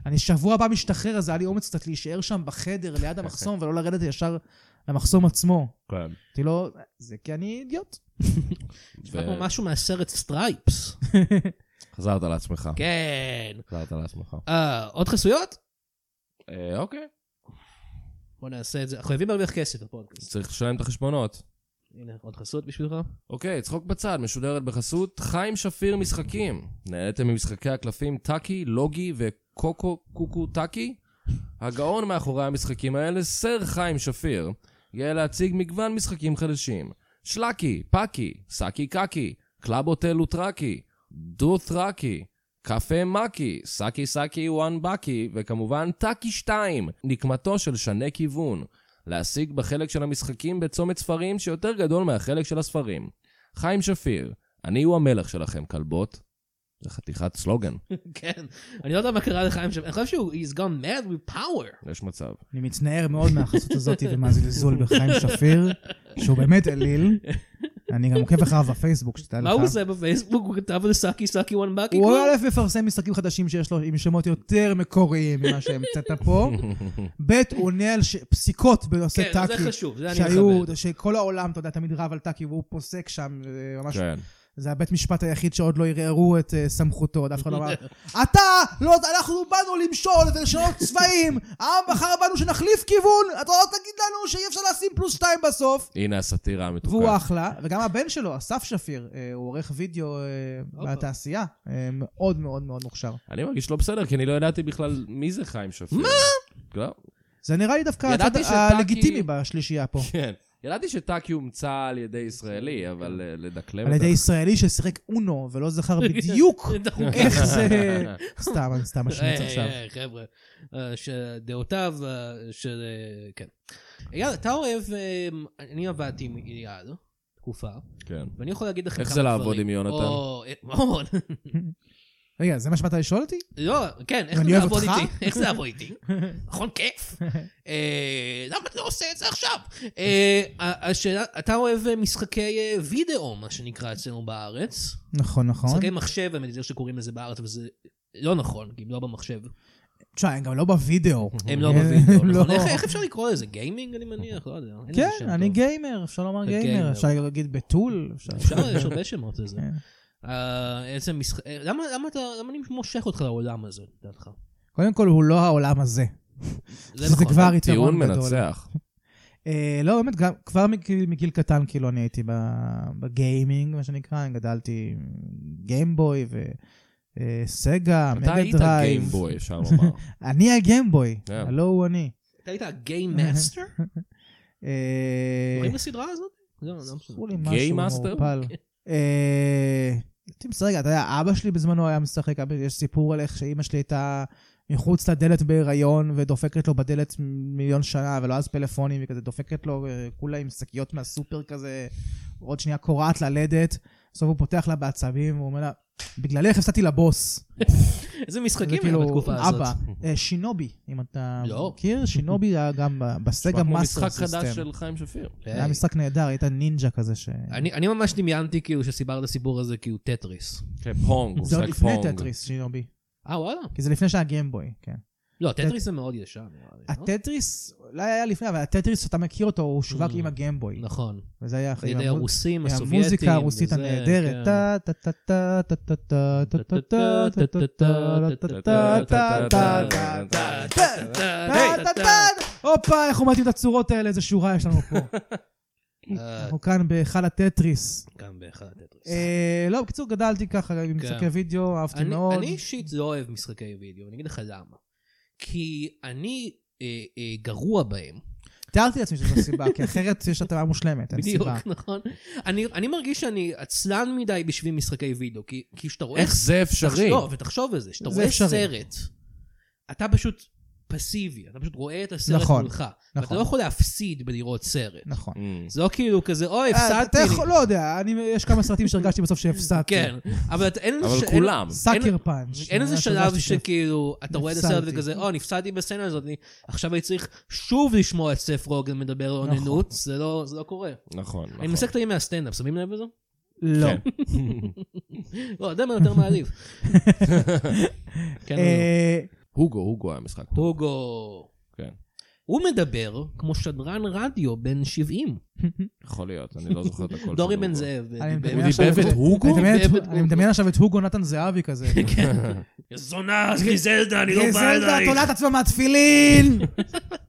Speaker 4: אני שבוע הבא משתחרר, אז היה לי אומץ קצת להישאר שם בחדר, ליד המחסום, ולא לרדת ישר למחסום עצמו.
Speaker 2: *laughs* כן.
Speaker 4: אמרתי לו, זה כי אני אידיוט.
Speaker 3: נשמע כמו משהו מהסרט סטרייפס.
Speaker 2: חזרת לעצמך.
Speaker 3: כן.
Speaker 2: חזרת לעצמך.
Speaker 3: אה, עוד חסויות?
Speaker 2: אה, אוקיי.
Speaker 3: בוא נעשה את זה. אנחנו חייבים להרוויח כסף בפודקאסט.
Speaker 2: צריך לשלם את החשבונות.
Speaker 3: הנה, עוד חסות בשבילך. *laughs*
Speaker 2: אוקיי, צחוק בצד, משודרת בחסות חיים שפיר משחקים. נהניתם ממשחקי הקלפים טאקי, לוגי וקוקו קוקו טאקי? הגאון מאחורי המשחקים האלה, סר חיים שפיר, יהיה להציג מגוון משחקים חדשים. שלקי, פאקי, סאקי קקי, קלאב הוטל וטראקי, דו טראקי, קפה מקי, סאקי סאקי וואן בקי, וכמובן טאקי 2, נקמתו של שנה כיוון. להשיג בחלק של המשחקים בצומת ספרים שיותר גדול מהחלק של הספרים. חיים שפיר, אני הוא המלך שלכם, כלבות. זה חתיכת סלוגן,
Speaker 3: כן. אני לא יודע מה קרה לחיים שם, אני חושב שהוא, he's gone mad with
Speaker 4: נכון.
Speaker 3: power.
Speaker 2: יש מצב.
Speaker 4: אני מצטער מאוד מהחסות
Speaker 3: *laughs*
Speaker 4: הזאת ומה זלזול בחיים שפיר, שהוא באמת אליל. אני גם עוקב אחריו בפייסבוק, שתדע לך.
Speaker 3: מה הוא עושה בפייסבוק? הוא כתב על סאקי סאקי וואן באקי?
Speaker 4: הוא א' מפרסם משחקים חדשים שיש לו עם שמות יותר מקוריים ממה שהמצאת
Speaker 3: *laughs*
Speaker 4: פה. ב' הוא עונה על ש- פסיקות בנושא
Speaker 3: כן,
Speaker 4: טאקי.
Speaker 3: זה חשוב, זה אני
Speaker 4: שהיו,
Speaker 3: *laughs* מכבד.
Speaker 4: שכל העולם, אתה יודע, תמיד רב על טאקי, והוא פוסק שם, זה ממש...
Speaker 2: כן.
Speaker 4: זה הבית משפט היחיד שעוד לא ערערו את אה, סמכותו, עוד אף אחד
Speaker 3: *laughs*
Speaker 4: לא אמר, אתה, לא, אנחנו באנו למשול ולשנות צבעים, העם בחר בנו שנחליף כיוון, אתה לא תגיד לנו שאי אפשר לשים פלוס שתיים בסוף.
Speaker 2: הנה הסאטירה המתוקה.
Speaker 4: והוא אחלה, וגם הבן שלו, אסף שפיר, אה, הוא עורך וידאו אה,
Speaker 3: הופה.
Speaker 4: מהתעשייה, אה, מאוד מאוד מאוד מוכשר.
Speaker 2: אני מרגיש לא בסדר, כי אני לא ידעתי בכלל מי זה חיים שפיר. מה? לא,
Speaker 4: זה נראה לי דווקא הצד
Speaker 2: ידעתי שטאקי-
Speaker 4: הלגיטימי בשלישייה פה.
Speaker 2: כן. ידעתי שטאקי הומצא על ידי ישראלי, אבל אה, לדקלם
Speaker 4: על ידי ישראלי ששיחק אונו ולא זכר
Speaker 3: *laughs*
Speaker 4: בדיוק איך זה... סתם, אני סתם משמיץ
Speaker 3: היי,
Speaker 4: עכשיו.
Speaker 3: היי, חבר'ה, אה, שדעותיו אה, של... אה, כן. אייל, אתה אוהב... אה, אני עבדתי עם אייל תקופה,
Speaker 2: *laughs* כן.
Speaker 3: ואני יכול להגיד לכם
Speaker 2: איך
Speaker 3: כמה
Speaker 2: זה
Speaker 3: דברים.
Speaker 2: לעבוד עם יונתן?
Speaker 3: או, אה, מאוד.
Speaker 4: רגע, זה מה שבאת לשאול אותי?
Speaker 3: לא, כן, איך
Speaker 4: אני
Speaker 3: זה
Speaker 4: אוהב
Speaker 3: לעבוד
Speaker 4: אותך?
Speaker 3: איתי? איך זה לעבוד
Speaker 4: *laughs*
Speaker 3: איתי? נכון, כיף. אה, למה אתה לא עושה את זה עכשיו? אה, ה- השאלה, אתה אוהב אה, משחקי אה, וידאו, מה שנקרא אצלנו בארץ.
Speaker 4: נכון, נכון.
Speaker 3: משחקי מחשב, אני יודע שקוראים לזה בארץ, אבל זה לא נכון, כי הם לא במחשב.
Speaker 4: תשמע, הם גם לא בווידאו.
Speaker 3: הם לא בווידאו,
Speaker 4: הם
Speaker 3: נכון?
Speaker 4: לא.
Speaker 3: איך- איך אפשר לקרוא לזה? גיימינג, אני מניח? לא יודע. אין לזה
Speaker 4: כן,
Speaker 3: שם
Speaker 4: אני
Speaker 3: טוב.
Speaker 4: גיימר, אפשר לומר
Speaker 3: אתה
Speaker 4: גיימר.
Speaker 3: גיימר.
Speaker 4: אפשר להגיד בתול. אפשר-
Speaker 3: אפשר, יש הרבה שמות לזה.
Speaker 4: כן.
Speaker 3: אה, איזה משחק... אה, למה למה אתה... למה אני מושך אותך לעולם הזה, לדעתך?
Speaker 4: קודם כל, הוא לא העולם הזה. שזה
Speaker 3: נכון.
Speaker 4: כבר יתרון
Speaker 2: טיעון
Speaker 4: גדול.
Speaker 2: מנצח.
Speaker 4: אה, לא, באמת, גם- כבר מגיל מגיל קטן, כאילו, אני הייתי ב- בגיימינג, מה שנקרא, אני גדלתי עם אה, גיימבוי וסגה,
Speaker 2: אתה היית
Speaker 4: מדדרייב.
Speaker 2: גיימבוי, אפשר
Speaker 4: *laughs*
Speaker 2: לומר.
Speaker 4: אני הגיימבוי,
Speaker 2: כן.
Speaker 4: הלא הוא אני.
Speaker 3: אתה היית הגיים מאסטר?
Speaker 4: אה,
Speaker 3: זוכרים לסדרה הזאת? לא, לא משנה. כן.
Speaker 4: זכרו לי
Speaker 2: גיי
Speaker 4: משהו
Speaker 2: מאסטר?
Speaker 4: מעורפל. אה, תמצא רגע, אתה יודע, אבא שלי בזמנו היה משחק, אבא- יש סיפור על איך שאימא שלי הייתה מחוץ לדלת בהיריון ודופקת לו בדלת מ- מיליון שנה, ולא אז פלאפונים, וכזה דופקת לו אה, כולה עם שקיות מהסופר כזה, עוד שנייה קורעת ללדת, בסוף הוא פותח לה בעצבים, והוא אומר לה, בגללך הפסדתי לבוס.
Speaker 3: איזה
Speaker 4: זה
Speaker 3: משחקים היו
Speaker 4: כאילו,
Speaker 3: בתקופה הזאת.
Speaker 4: אבא. אה, שינובי, אם אתה
Speaker 3: לא.
Speaker 4: מכיר, שינובי היה גם ב- בסגה
Speaker 2: נשמע כמו
Speaker 4: מאסטר
Speaker 2: משחק חדש
Speaker 4: סיסטם.
Speaker 2: של חיים שפיר.
Speaker 4: היה משחק נהדר, היית נינג'ה כזה ש...
Speaker 3: כן. אני אני ממש דמיינתי כאילו שסיפרת את הסיפור הזה כאילו טטריס.
Speaker 2: כן, פונג, הוא
Speaker 4: זה עוד
Speaker 2: משחק
Speaker 4: לפני
Speaker 2: פונג.
Speaker 4: טטריס, שינובי.
Speaker 3: אה וואלה?
Speaker 4: כי זה לפני שהיה גיימבוי, כן.
Speaker 3: לא, טטריס זה מאוד ישן. נראה לי, לא?
Speaker 4: הטטריס, אולי היה לפני, אבל הטטריס, אתה מכיר אותו, הוא שווק
Speaker 3: Mm.
Speaker 4: עם הגיימבוי.
Speaker 3: נכון.
Speaker 4: וזה היה
Speaker 3: על
Speaker 4: אחרי...
Speaker 3: ידי הרוסים, הסובייטים.
Speaker 4: המוזיקה הרוסית
Speaker 3: וזה,
Speaker 4: הנהדרת.
Speaker 3: כן.
Speaker 4: טה, טה, טה, טה, טה, טה, טה, טה, טה, טה, טה, טה, טה, טה, טה, טה, טה, טה, טה. טה, טה, טה. הופה, איך הוא מתאים את הצורות האלה, איזה שורה יש לנו פה.
Speaker 3: *laughs* אה,
Speaker 4: אנחנו כאן בהיכל הטטריס.
Speaker 3: גם באחד הטטריס.
Speaker 4: אה, לא, בקיצור, גדלתי ככה עם משחקי וידאו, אהבתי
Speaker 3: כן. אני-
Speaker 4: מאוד.
Speaker 3: אני אישית לא אוהב משחקי וידאו, אני אגיד לך למה. כי אני אה, אה, גרוע בהם.
Speaker 4: תיארתי לעצמי שזו הסיבה, כי אחרת יש הטבה מושלמת, אין
Speaker 3: בדיוק,
Speaker 4: סיבה.
Speaker 3: נכון. אני אני מרגיש שאני עצלן מדי בשביל משחקי וידאו, כי כי כשאתה רואה...
Speaker 2: איך זה אפשרי?
Speaker 3: לא, ותחשוב על זה, כשאתה
Speaker 4: זה
Speaker 3: רואה
Speaker 4: אפשרי.
Speaker 3: סרט, אתה פשוט פסיבי, אתה פשוט רואה את הסרט
Speaker 4: נכון,
Speaker 3: מולך. ואתה
Speaker 4: נכון.
Speaker 3: לא יכול להפסיד בלראות סרט.
Speaker 4: נכון.
Speaker 2: Mm.
Speaker 3: זה לא כאילו כזה, אוי,
Speaker 4: אה,
Speaker 3: הפסדתי.
Speaker 4: אתה יכול, לא יודע, אני- יש כמה סרטים שהרגשתי בסוף שהפסדתי.
Speaker 3: כן, אבל אתה- אין... ש-
Speaker 2: אבל
Speaker 3: אין-
Speaker 2: כולם.
Speaker 4: סאקר פאנץ'. אה,
Speaker 3: אין איזה
Speaker 4: ממש
Speaker 3: שלב
Speaker 4: הרגשתי
Speaker 3: שכאילו, אתה רואה את הסרט
Speaker 4: נפסלתי.
Speaker 3: וכזה, או, נפסדתי בסצנה הזאת, אני- עכשיו אני צריך שוב לשמוע את סף רוגן מדבר על
Speaker 4: נכון.
Speaker 3: אוננות, זה לא זה לא קורה.
Speaker 2: נכון,
Speaker 3: אני
Speaker 2: נכון.
Speaker 3: מנסה קטעים מהסטנדאפ, שמים לב לזה?
Speaker 4: לא.
Speaker 2: כן.
Speaker 3: לא, זה מה יותר
Speaker 4: *laughs*
Speaker 3: מעליב. כן,
Speaker 4: אה,
Speaker 2: הוגו, הוגו היה משחק.
Speaker 3: לא. הוגו.
Speaker 2: כן.
Speaker 3: הוא מדבר כמו שדרן רדיו בן 70.
Speaker 2: יכול להיות, אני לא זוכר את הכל.
Speaker 3: דורי
Speaker 2: של
Speaker 3: בן
Speaker 2: הוגו.
Speaker 3: זאב. אה,
Speaker 4: אני
Speaker 3: דיבר-
Speaker 4: מדמיין עכשיו
Speaker 2: דיבב את הוגו?
Speaker 4: *laughs* אני מדמיין את-
Speaker 3: דיבב את
Speaker 4: אני
Speaker 3: הוגו.
Speaker 4: מדמיין עכשיו את הוגו נתן
Speaker 3: *laughs*
Speaker 4: זהבי כזה. אה,
Speaker 3: "יא זונה, גריזלדה, אני לא כאילו, בא
Speaker 4: גזלדה
Speaker 3: אלייך.
Speaker 4: תולה את עצמה מהתפילין!
Speaker 3: *laughs*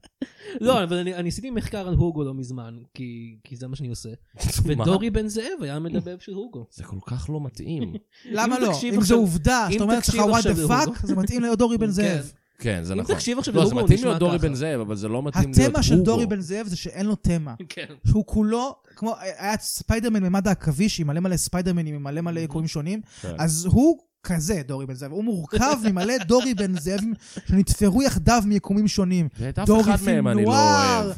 Speaker 3: לא, אבל אני, אני עשיתי מחקר על הוגו לא מזמן, כי, כי זה מה שאני עושה.
Speaker 2: מה?
Speaker 3: ודורי בן זאב היה המדבב של הוגו.
Speaker 2: זה כל כך לא מתאים.
Speaker 4: למה
Speaker 3: אם
Speaker 4: לא?
Speaker 3: תקשיב
Speaker 4: אם זו
Speaker 3: עכשיו-
Speaker 4: עובדה,
Speaker 3: אם
Speaker 4: שאתה אומר לעצמך
Speaker 3: תקשיב
Speaker 4: וואט
Speaker 3: עכשיו
Speaker 4: דה
Speaker 3: להוגו."
Speaker 4: פאק, זה מתאים לדורי בן
Speaker 3: *laughs*
Speaker 4: זאב.
Speaker 3: כן.
Speaker 2: כן, זה
Speaker 3: אם
Speaker 2: נכון.
Speaker 3: תקשיב עכשיו
Speaker 2: לא, זה
Speaker 3: להוגו, הוא
Speaker 2: מתאים
Speaker 3: נשמע
Speaker 2: להיות דורי
Speaker 3: ככה.
Speaker 2: בן זאב, אבל זה לא מתאים להיות הוגו.
Speaker 4: התמה של דורי בן זאב זה שאין לו תמה.
Speaker 3: כן.
Speaker 4: שהוא כולו, כמו, אה, היה ספיידרמן ממד העכביש עם מלא מלא ספיידרמנים, עם מלא מלא יקורים שונים,
Speaker 2: כן.
Speaker 4: אז הוא כזה דורי בן זאב, הוא מורכב ממלא דורי בן זאבים שנתפרו יחדיו מיקומים שונים.
Speaker 2: ואת אף
Speaker 4: דורי
Speaker 2: אחד מהם אני לא
Speaker 4: פינואר,
Speaker 2: אוהב.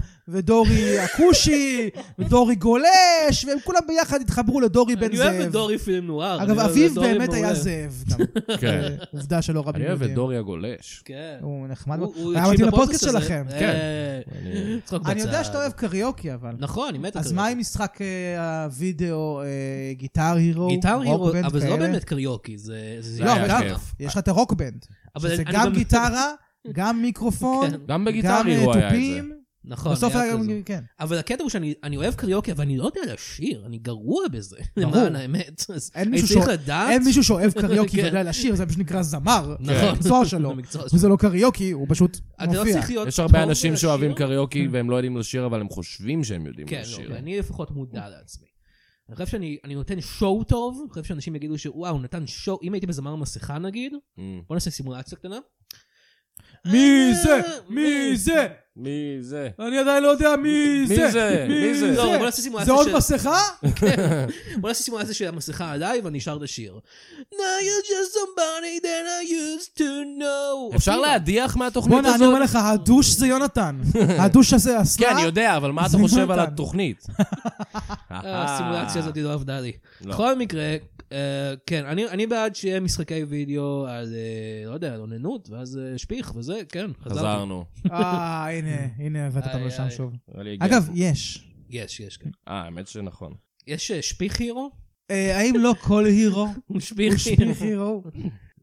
Speaker 2: *laughs*
Speaker 4: ודורי הכושי, ודורי גולש, והם כולם ביחד התחברו לדורי בן
Speaker 3: אני
Speaker 4: זאב.
Speaker 3: אוהב את דורי פילם נוער. אני
Speaker 4: אגב,
Speaker 3: אוהב את
Speaker 4: אביו
Speaker 3: דורי
Speaker 4: באמת היה
Speaker 3: מעולה.
Speaker 4: זאב
Speaker 2: *laughs*
Speaker 4: גם. *laughs* אה,
Speaker 2: כן.
Speaker 4: עובדה שלא רבים
Speaker 2: אני
Speaker 4: יודעים.
Speaker 2: אוהב את דורי
Speaker 3: *laughs*
Speaker 2: הגולש.
Speaker 3: כן.
Speaker 4: הוא נחמד מאוד.
Speaker 3: הוא- הוא
Speaker 4: היה
Speaker 3: הקשיב
Speaker 4: מתאים
Speaker 3: לפודקאסט
Speaker 4: לפודקאסט
Speaker 3: הזה.
Speaker 4: שלכם.
Speaker 3: אה,
Speaker 2: אני-
Speaker 3: צחוק
Speaker 4: אני יודע
Speaker 3: בצד.
Speaker 4: שאתה אוהב קריוקי, אבל.
Speaker 3: נכון, אני מת על
Speaker 4: אז
Speaker 3: קריוקי.
Speaker 4: מה עם משחק אה, הוידאו, אה, גיטר הירו,
Speaker 3: גיטר הירו,
Speaker 4: רוקבנד
Speaker 3: אבל זה לא
Speaker 4: כאלה?
Speaker 3: באמת קריוקי, זה... זה-
Speaker 2: לא,
Speaker 3: זה
Speaker 2: אבל
Speaker 3: גיטרה.
Speaker 2: כיף.
Speaker 4: יש לך את הרוקבנד,
Speaker 3: אבל
Speaker 4: שזה
Speaker 3: אני לא-
Speaker 4: גם גיטרה, גם מיקרופון,
Speaker 3: *laughs* כן,
Speaker 2: גם בגיטר
Speaker 4: גם
Speaker 2: הירו
Speaker 4: אה,
Speaker 2: היה את זה.
Speaker 4: תופים.
Speaker 3: נכון,
Speaker 4: בסוף
Speaker 3: היה
Speaker 4: היה גם,
Speaker 3: כזה.
Speaker 4: כן.
Speaker 3: אבל הקטע הוא שאני אני אוהב קריוקי, אבל אני לא יודע לשיר, אני גרוע בזה. *laughs*
Speaker 4: ברור.
Speaker 3: למען האמת. אז
Speaker 4: אין
Speaker 3: אני
Speaker 4: מישהו
Speaker 3: צריך
Speaker 4: שאוה-
Speaker 3: לדעת...
Speaker 4: אין מישהו שאוהב קריוקי
Speaker 3: כן.
Speaker 4: ויודע לשיר, זה פשוט נקרא זמר.
Speaker 3: נכון.
Speaker 4: זה
Speaker 3: *laughs*
Speaker 4: המקצוע שלו.
Speaker 3: המקצוע שלו.
Speaker 4: וזה לא קריוקי, הוא פשוט
Speaker 3: אתה לא
Speaker 4: מופיע.
Speaker 3: צריך להיות
Speaker 2: יש הרבה
Speaker 3: טוב
Speaker 2: אנשים
Speaker 3: ולשיר.
Speaker 2: שאוהבים קריוקי והם לא יודעים לשיר, אבל הם חושבים שהם יודעים
Speaker 3: כן,
Speaker 2: לשיר.
Speaker 3: לא, ואני לפחות מודע לעצמי. אני חושב שאני אני נותן שואו טוב, אני חושב שאנשים יגידו שוואו, הוא נתן שואו, אם הייתי בזמר מסכה נגיד,
Speaker 2: אמ,
Speaker 3: בוא נעשה סימולציה קטנה.
Speaker 4: מי זה?
Speaker 3: אה,
Speaker 4: מי זה?
Speaker 2: מי זה?
Speaker 4: אני עדיין לא יודע מי
Speaker 2: מי זה? מי זה?
Speaker 3: לא, בוא נעשה סימולציה
Speaker 4: זה עוד
Speaker 3: של- *laughs*
Speaker 4: מסכה?
Speaker 3: בוא נעשה סימולציה של המסכה עליי ואני שר את השיר. Now you're just somebody that I used to know.
Speaker 2: אפשר
Speaker 3: אפילו.
Speaker 2: להדיח מהתוכנית
Speaker 4: בוא'נה, אני
Speaker 2: הזאת?
Speaker 4: אומר לך, הדוש
Speaker 3: *laughs*
Speaker 4: זה יונתן. הדוש הזה,
Speaker 2: כן,
Speaker 4: הסלע.
Speaker 2: אני יודע, אבל מה אתה
Speaker 4: זה
Speaker 2: חושב על
Speaker 4: יונתן.
Speaker 2: התוכנית?
Speaker 3: אה, הסימולציה הזאת לא עבדה לי.
Speaker 2: אה. לא.
Speaker 3: בכל מקרה, אה, כן, אני אני בעד שיהיה משחקי וידאו על, אה, לא יודע, על אוננות, ואז אה, שפיך וזה, כן, חזרתי.
Speaker 2: חזרנו.
Speaker 4: אה, הנה, הנה, הבאת אותנו
Speaker 3: איי,
Speaker 4: לשם
Speaker 3: איי.
Speaker 4: שוב.
Speaker 2: נראה לי הגיע.
Speaker 4: אגב, יש.
Speaker 3: יש, יש, כן.
Speaker 2: אה, האמת שנכון.
Speaker 3: יש אה, שפיך הירו?
Speaker 4: אה, האם לא כל הירו
Speaker 3: שפיך *laughs*
Speaker 4: הוא
Speaker 3: הירו.
Speaker 4: שפיך הירו?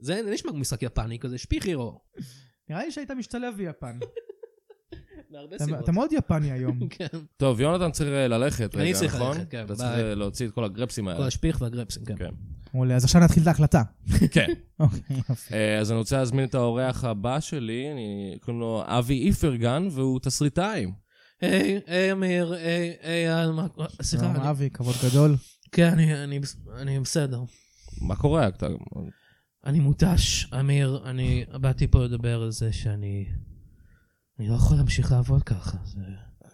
Speaker 3: זה נשמע כמו משחק יפני כזה, שפיך הירו.
Speaker 4: נראה לי שהיית משתלב ביפן.
Speaker 3: מהרבה
Speaker 4: אתה-
Speaker 3: סיבות.
Speaker 4: אתה מאוד יפני היום.
Speaker 3: כן,
Speaker 2: טוב, יונתן צריך אה, ללכת
Speaker 3: אני
Speaker 2: רגע,
Speaker 3: צריך
Speaker 2: נכון?
Speaker 3: ללכת, כן,
Speaker 2: אתה צריך
Speaker 3: ביי.
Speaker 2: אה, להוציא את כל הגרפסים
Speaker 3: כל
Speaker 2: האלה.
Speaker 3: השפיך והגרפסים, כן.
Speaker 2: כן.
Speaker 4: מעולה, אז עכשיו נתחיל את
Speaker 3: *laughs*
Speaker 4: ההקלטה.
Speaker 2: כן.
Speaker 4: אוקיי, יפה.
Speaker 2: אה, אז אני רוצה להזמין את האורח הבא שלי, אני- קוראים לו אבי איפרגן, והוא תסריטאי.
Speaker 3: היי, היי, אמיר, היי, היי, אה, מה- סליחה,
Speaker 4: שלום,
Speaker 3: אני-
Speaker 4: אבי, כבוד גדול.
Speaker 3: כן, אני- אני בס- אני בסדר.
Speaker 2: מה קורה? אתה-
Speaker 3: אני מותש, אמיר, אני באתי פה לדבר על זה שאני... אני לא יכול להמשיך לעבוד ככה. זה...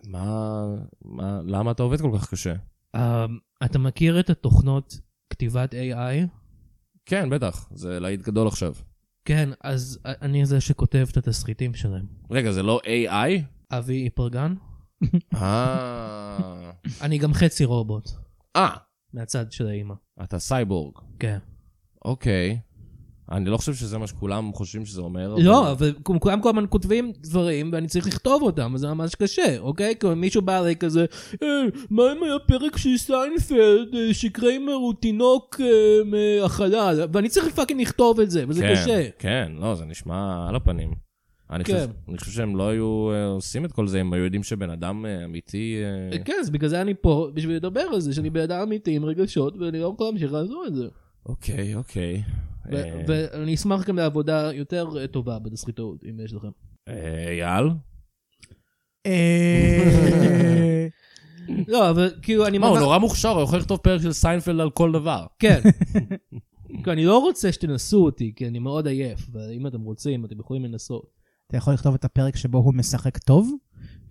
Speaker 2: מה... מה- למה אתה עובד כל כך קשה?
Speaker 3: Uh, אתה מכיר את התוכנות כתיבת AI?
Speaker 2: כן, בטח, זה להיט גדול עכשיו.
Speaker 3: כן, אז א- אני זה שכותב את התסריטים שלהם.
Speaker 2: רגע, זה לא AI?
Speaker 3: אבי
Speaker 4: *laughs*
Speaker 3: איפרגן?
Speaker 2: אה...
Speaker 3: אני גם חצי רובוט,
Speaker 2: אה,
Speaker 3: מהצד של האימא.
Speaker 2: אתה סייבורג.
Speaker 3: כן.
Speaker 2: אוקיי. אני לא חושב שזה מה שכולם חושבים שזה אומר.
Speaker 3: לא, אבל כולם- כולם כל הזמן כותבים דברים, ואני צריך לכתוב אותם, וזה ממש קשה, אוקיי? כאילו מישהו בא אליי כזה, "אה, מה אם היה פרק של סיינפלד, אה, שקריימר הוא תינוק אה, מהחלל, ואני צריך פאקינג לכתוב את זה, וזה
Speaker 2: כן,
Speaker 3: קשה.
Speaker 2: כן, לא, זה נשמע על הפנים. אני,
Speaker 3: כן.
Speaker 2: חושב, אני חושב שהם לא היו אה, עושים את כל זה, הם היו יודעים שבן אדם אה, אמיתי... אה,
Speaker 3: אה, כן, אז בגלל זה אני פה, בשביל לדבר על זה, שאני בן אדם אמיתי עם רגשות, ואני לא יכול להמשיך לעשות את זה.
Speaker 2: אוקיי, אוקיי.
Speaker 3: ו-
Speaker 2: אה,
Speaker 3: ואני אשמח גם לעבודה יותר אה, טובה בתסריטאות, אם יש לכם. *clears throat*
Speaker 2: אה, אייל?
Speaker 4: אה,
Speaker 3: לא, אבל כאילו, אני
Speaker 2: מה,
Speaker 3: ממש...
Speaker 2: הוא נורא מוכשר, הוא יכול לכתוב פרק של סיינפלד על כל דבר.
Speaker 3: כן. כי אני לא רוצה שתנסו אותי, כי אני מאוד עייף, ואם אתם רוצים, אתם יכולים לנסות.
Speaker 4: אתה יכול לכתוב את הפרק שבו הוא משחק טוב?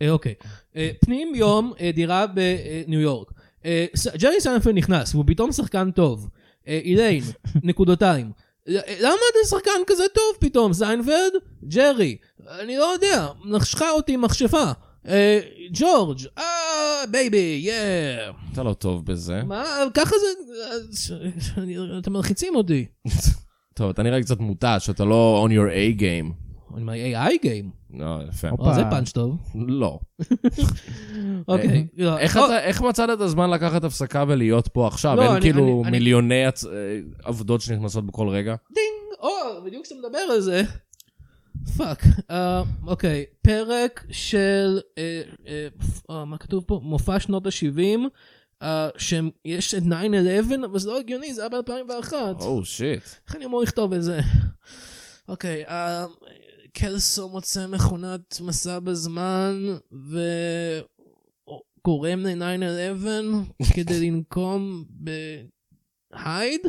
Speaker 3: אה, אוקיי. אה, פנים יום, אה, דירה בניו יורק. אה, ס- ג'רי סיינפלד נכנס, והוא פתאום שחקן טוב. אה, איליין, נקודותיים. ל- אה, למה אתה שחקן כזה טוב פתאום, סיינפלד? ג'רי, אני לא יודע, נחשכה אותי מכשפה. אה, ג'ורג', אה, בייבי, יא.
Speaker 2: אתה לא טוב בזה.
Speaker 3: מה, ככה זה, אני- אתם מלחיצים אותי.
Speaker 2: טוב, אתה נראה קצת מותש, אתה לא on your A game.
Speaker 3: אני מה-AI game.
Speaker 2: לא, יפה.
Speaker 4: אופ.
Speaker 3: אה, זה
Speaker 4: הופה.
Speaker 3: פאנץ' טוב.
Speaker 2: לא.
Speaker 3: אוקיי. לא,
Speaker 2: איך
Speaker 3: או-
Speaker 2: אתה- איך מצאת את הזמן לקחת הפסקה ולהיות פה עכשיו?
Speaker 3: לא,
Speaker 2: אין
Speaker 3: אני-
Speaker 2: כאילו
Speaker 3: אני- אני-
Speaker 2: מיליוני הצ- אה, עבודות שנכנסות בכל רגע?
Speaker 3: או, בדיוק כשאתה מדבר על זה. פאק. אה, אוקיי, פרק של, אה, אה, אה, מה כתוב פה? מופע שנות ה-70, שיש את 9-11, אבל זה לא הגיוני, זה היה ב-2001.
Speaker 2: או שיט.
Speaker 3: איך אני אמור לכתוב את זה? אוקיי, אה, קלסו מוצא מכונת מסע בזמן וגורם ל-9-11 כדי לנקום בהייד?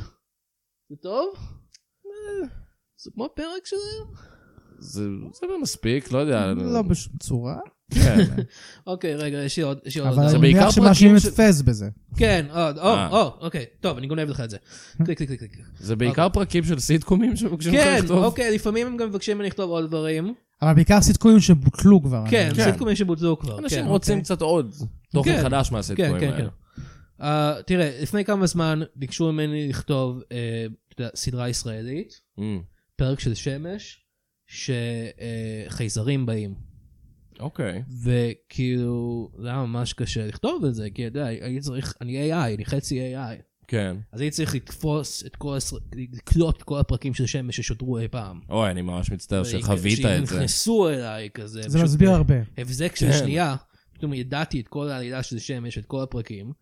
Speaker 3: זה טוב? אה, זה כמו הפרק של היום?
Speaker 2: זה זה לא מספיק, לא יודע.
Speaker 4: לא בשום צורה.
Speaker 2: כן.
Speaker 3: אוקיי, רגע, יש לי עוד... יש לי עוד
Speaker 4: אבל
Speaker 3: הודעה.
Speaker 2: זה
Speaker 4: אני
Speaker 2: בעיקר
Speaker 4: מניח
Speaker 2: פרקים
Speaker 4: שמאשימים את
Speaker 2: של-
Speaker 4: פז בזה.
Speaker 3: כן, עוד, או,
Speaker 2: אה.
Speaker 3: או, אוקיי, טוב, אני גונב לך את זה.
Speaker 2: *laughs*
Speaker 3: קליק, קליק, קליק, קליק.
Speaker 2: זה בעיקר פרקים של סיטקומים שמבקשים לך
Speaker 3: כן,
Speaker 2: לא לכתוב. אה,
Speaker 3: אוקיי, לפעמים הם גם מבקשים ממני לכתוב עוד דברים.
Speaker 4: אבל בעיקר סיטקומים שבוטלו כבר. אני-
Speaker 3: כן,
Speaker 2: כן.
Speaker 3: סיטקומים שבוטלו כבר.
Speaker 2: אנשים
Speaker 3: כן.
Speaker 2: רוצים קצת עוד תוכן
Speaker 3: כן.
Speaker 2: חדש מהסטקויים
Speaker 3: כן, כן,
Speaker 2: האלה.
Speaker 3: כן. Uh, תראה, לפני כמה זמן ביקשו ממני לכתוב אה, אתה יודע, סדרה ישראלית,
Speaker 2: אמ,
Speaker 3: פרק של שמש, שחייזרים באים.
Speaker 2: אוקיי.
Speaker 3: וכאילו, זה היה ממש קשה לכתוב את זה, כי אתה יודע, הייתי צריך, אני AI, אני חצי AI.
Speaker 2: כן.
Speaker 3: אז הייתי צריך לתפוס את כל, הס- לקלוט את כל הפרקים של שמש ששודרו אי פעם.
Speaker 2: אוי, אני ממש מצטער שחווית את זה.
Speaker 3: נכנסו אליי כזה.
Speaker 4: זה
Speaker 3: פשוט לא.
Speaker 4: מסביר הרבה.
Speaker 3: הבזק של
Speaker 2: כן.
Speaker 3: שנייה, פתאום ידעתי את כל העלילה של שמש, את כל הפרקים,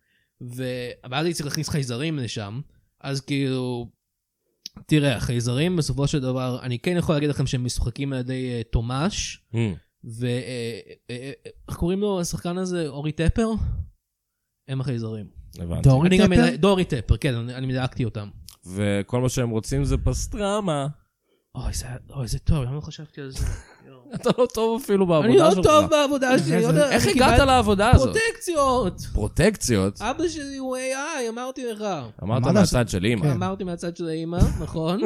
Speaker 3: ו- ואז הייתי צריך להכניס חייזרים לשם, אז כאילו, תראה, החייזרים בסופו של דבר, אני כן יכול להגיד לכם שהם משוחקים על ידי אה, תומש,
Speaker 2: אמ,
Speaker 3: ו... אה, אה, אה, איך קוראים לו השחקן הזה? אורי טפר? הם החייזרים.
Speaker 2: הבנתי.
Speaker 4: דורי
Speaker 3: אני גם
Speaker 4: טפר?
Speaker 3: מדה- דורי טפר, כן, אני אני מדלקתי אותם.
Speaker 2: וכל מה שהם רוצים זה פסטרמה. *laughs*
Speaker 3: אוי, זה- אוי, זה טוב, למה לא חשבתי על זה? יואו.
Speaker 2: אתה לא טוב אפילו בעבודה
Speaker 3: *laughs* אני
Speaker 2: שלך.
Speaker 3: לא טוב בעבודה שלי,
Speaker 4: זה-
Speaker 3: לא יודע,
Speaker 2: איך
Speaker 3: אני
Speaker 2: הגעת
Speaker 3: קיבלתי אה,
Speaker 2: לעבודה הזאת?
Speaker 3: פרוטקציות!
Speaker 2: פרוטקציות?
Speaker 3: אבא שלי הוא AI, אמרתי לך.
Speaker 2: אמרת
Speaker 4: מה
Speaker 2: מהצד של אימא.
Speaker 4: כן.
Speaker 3: אמרתי מהצד של האימא, נכון.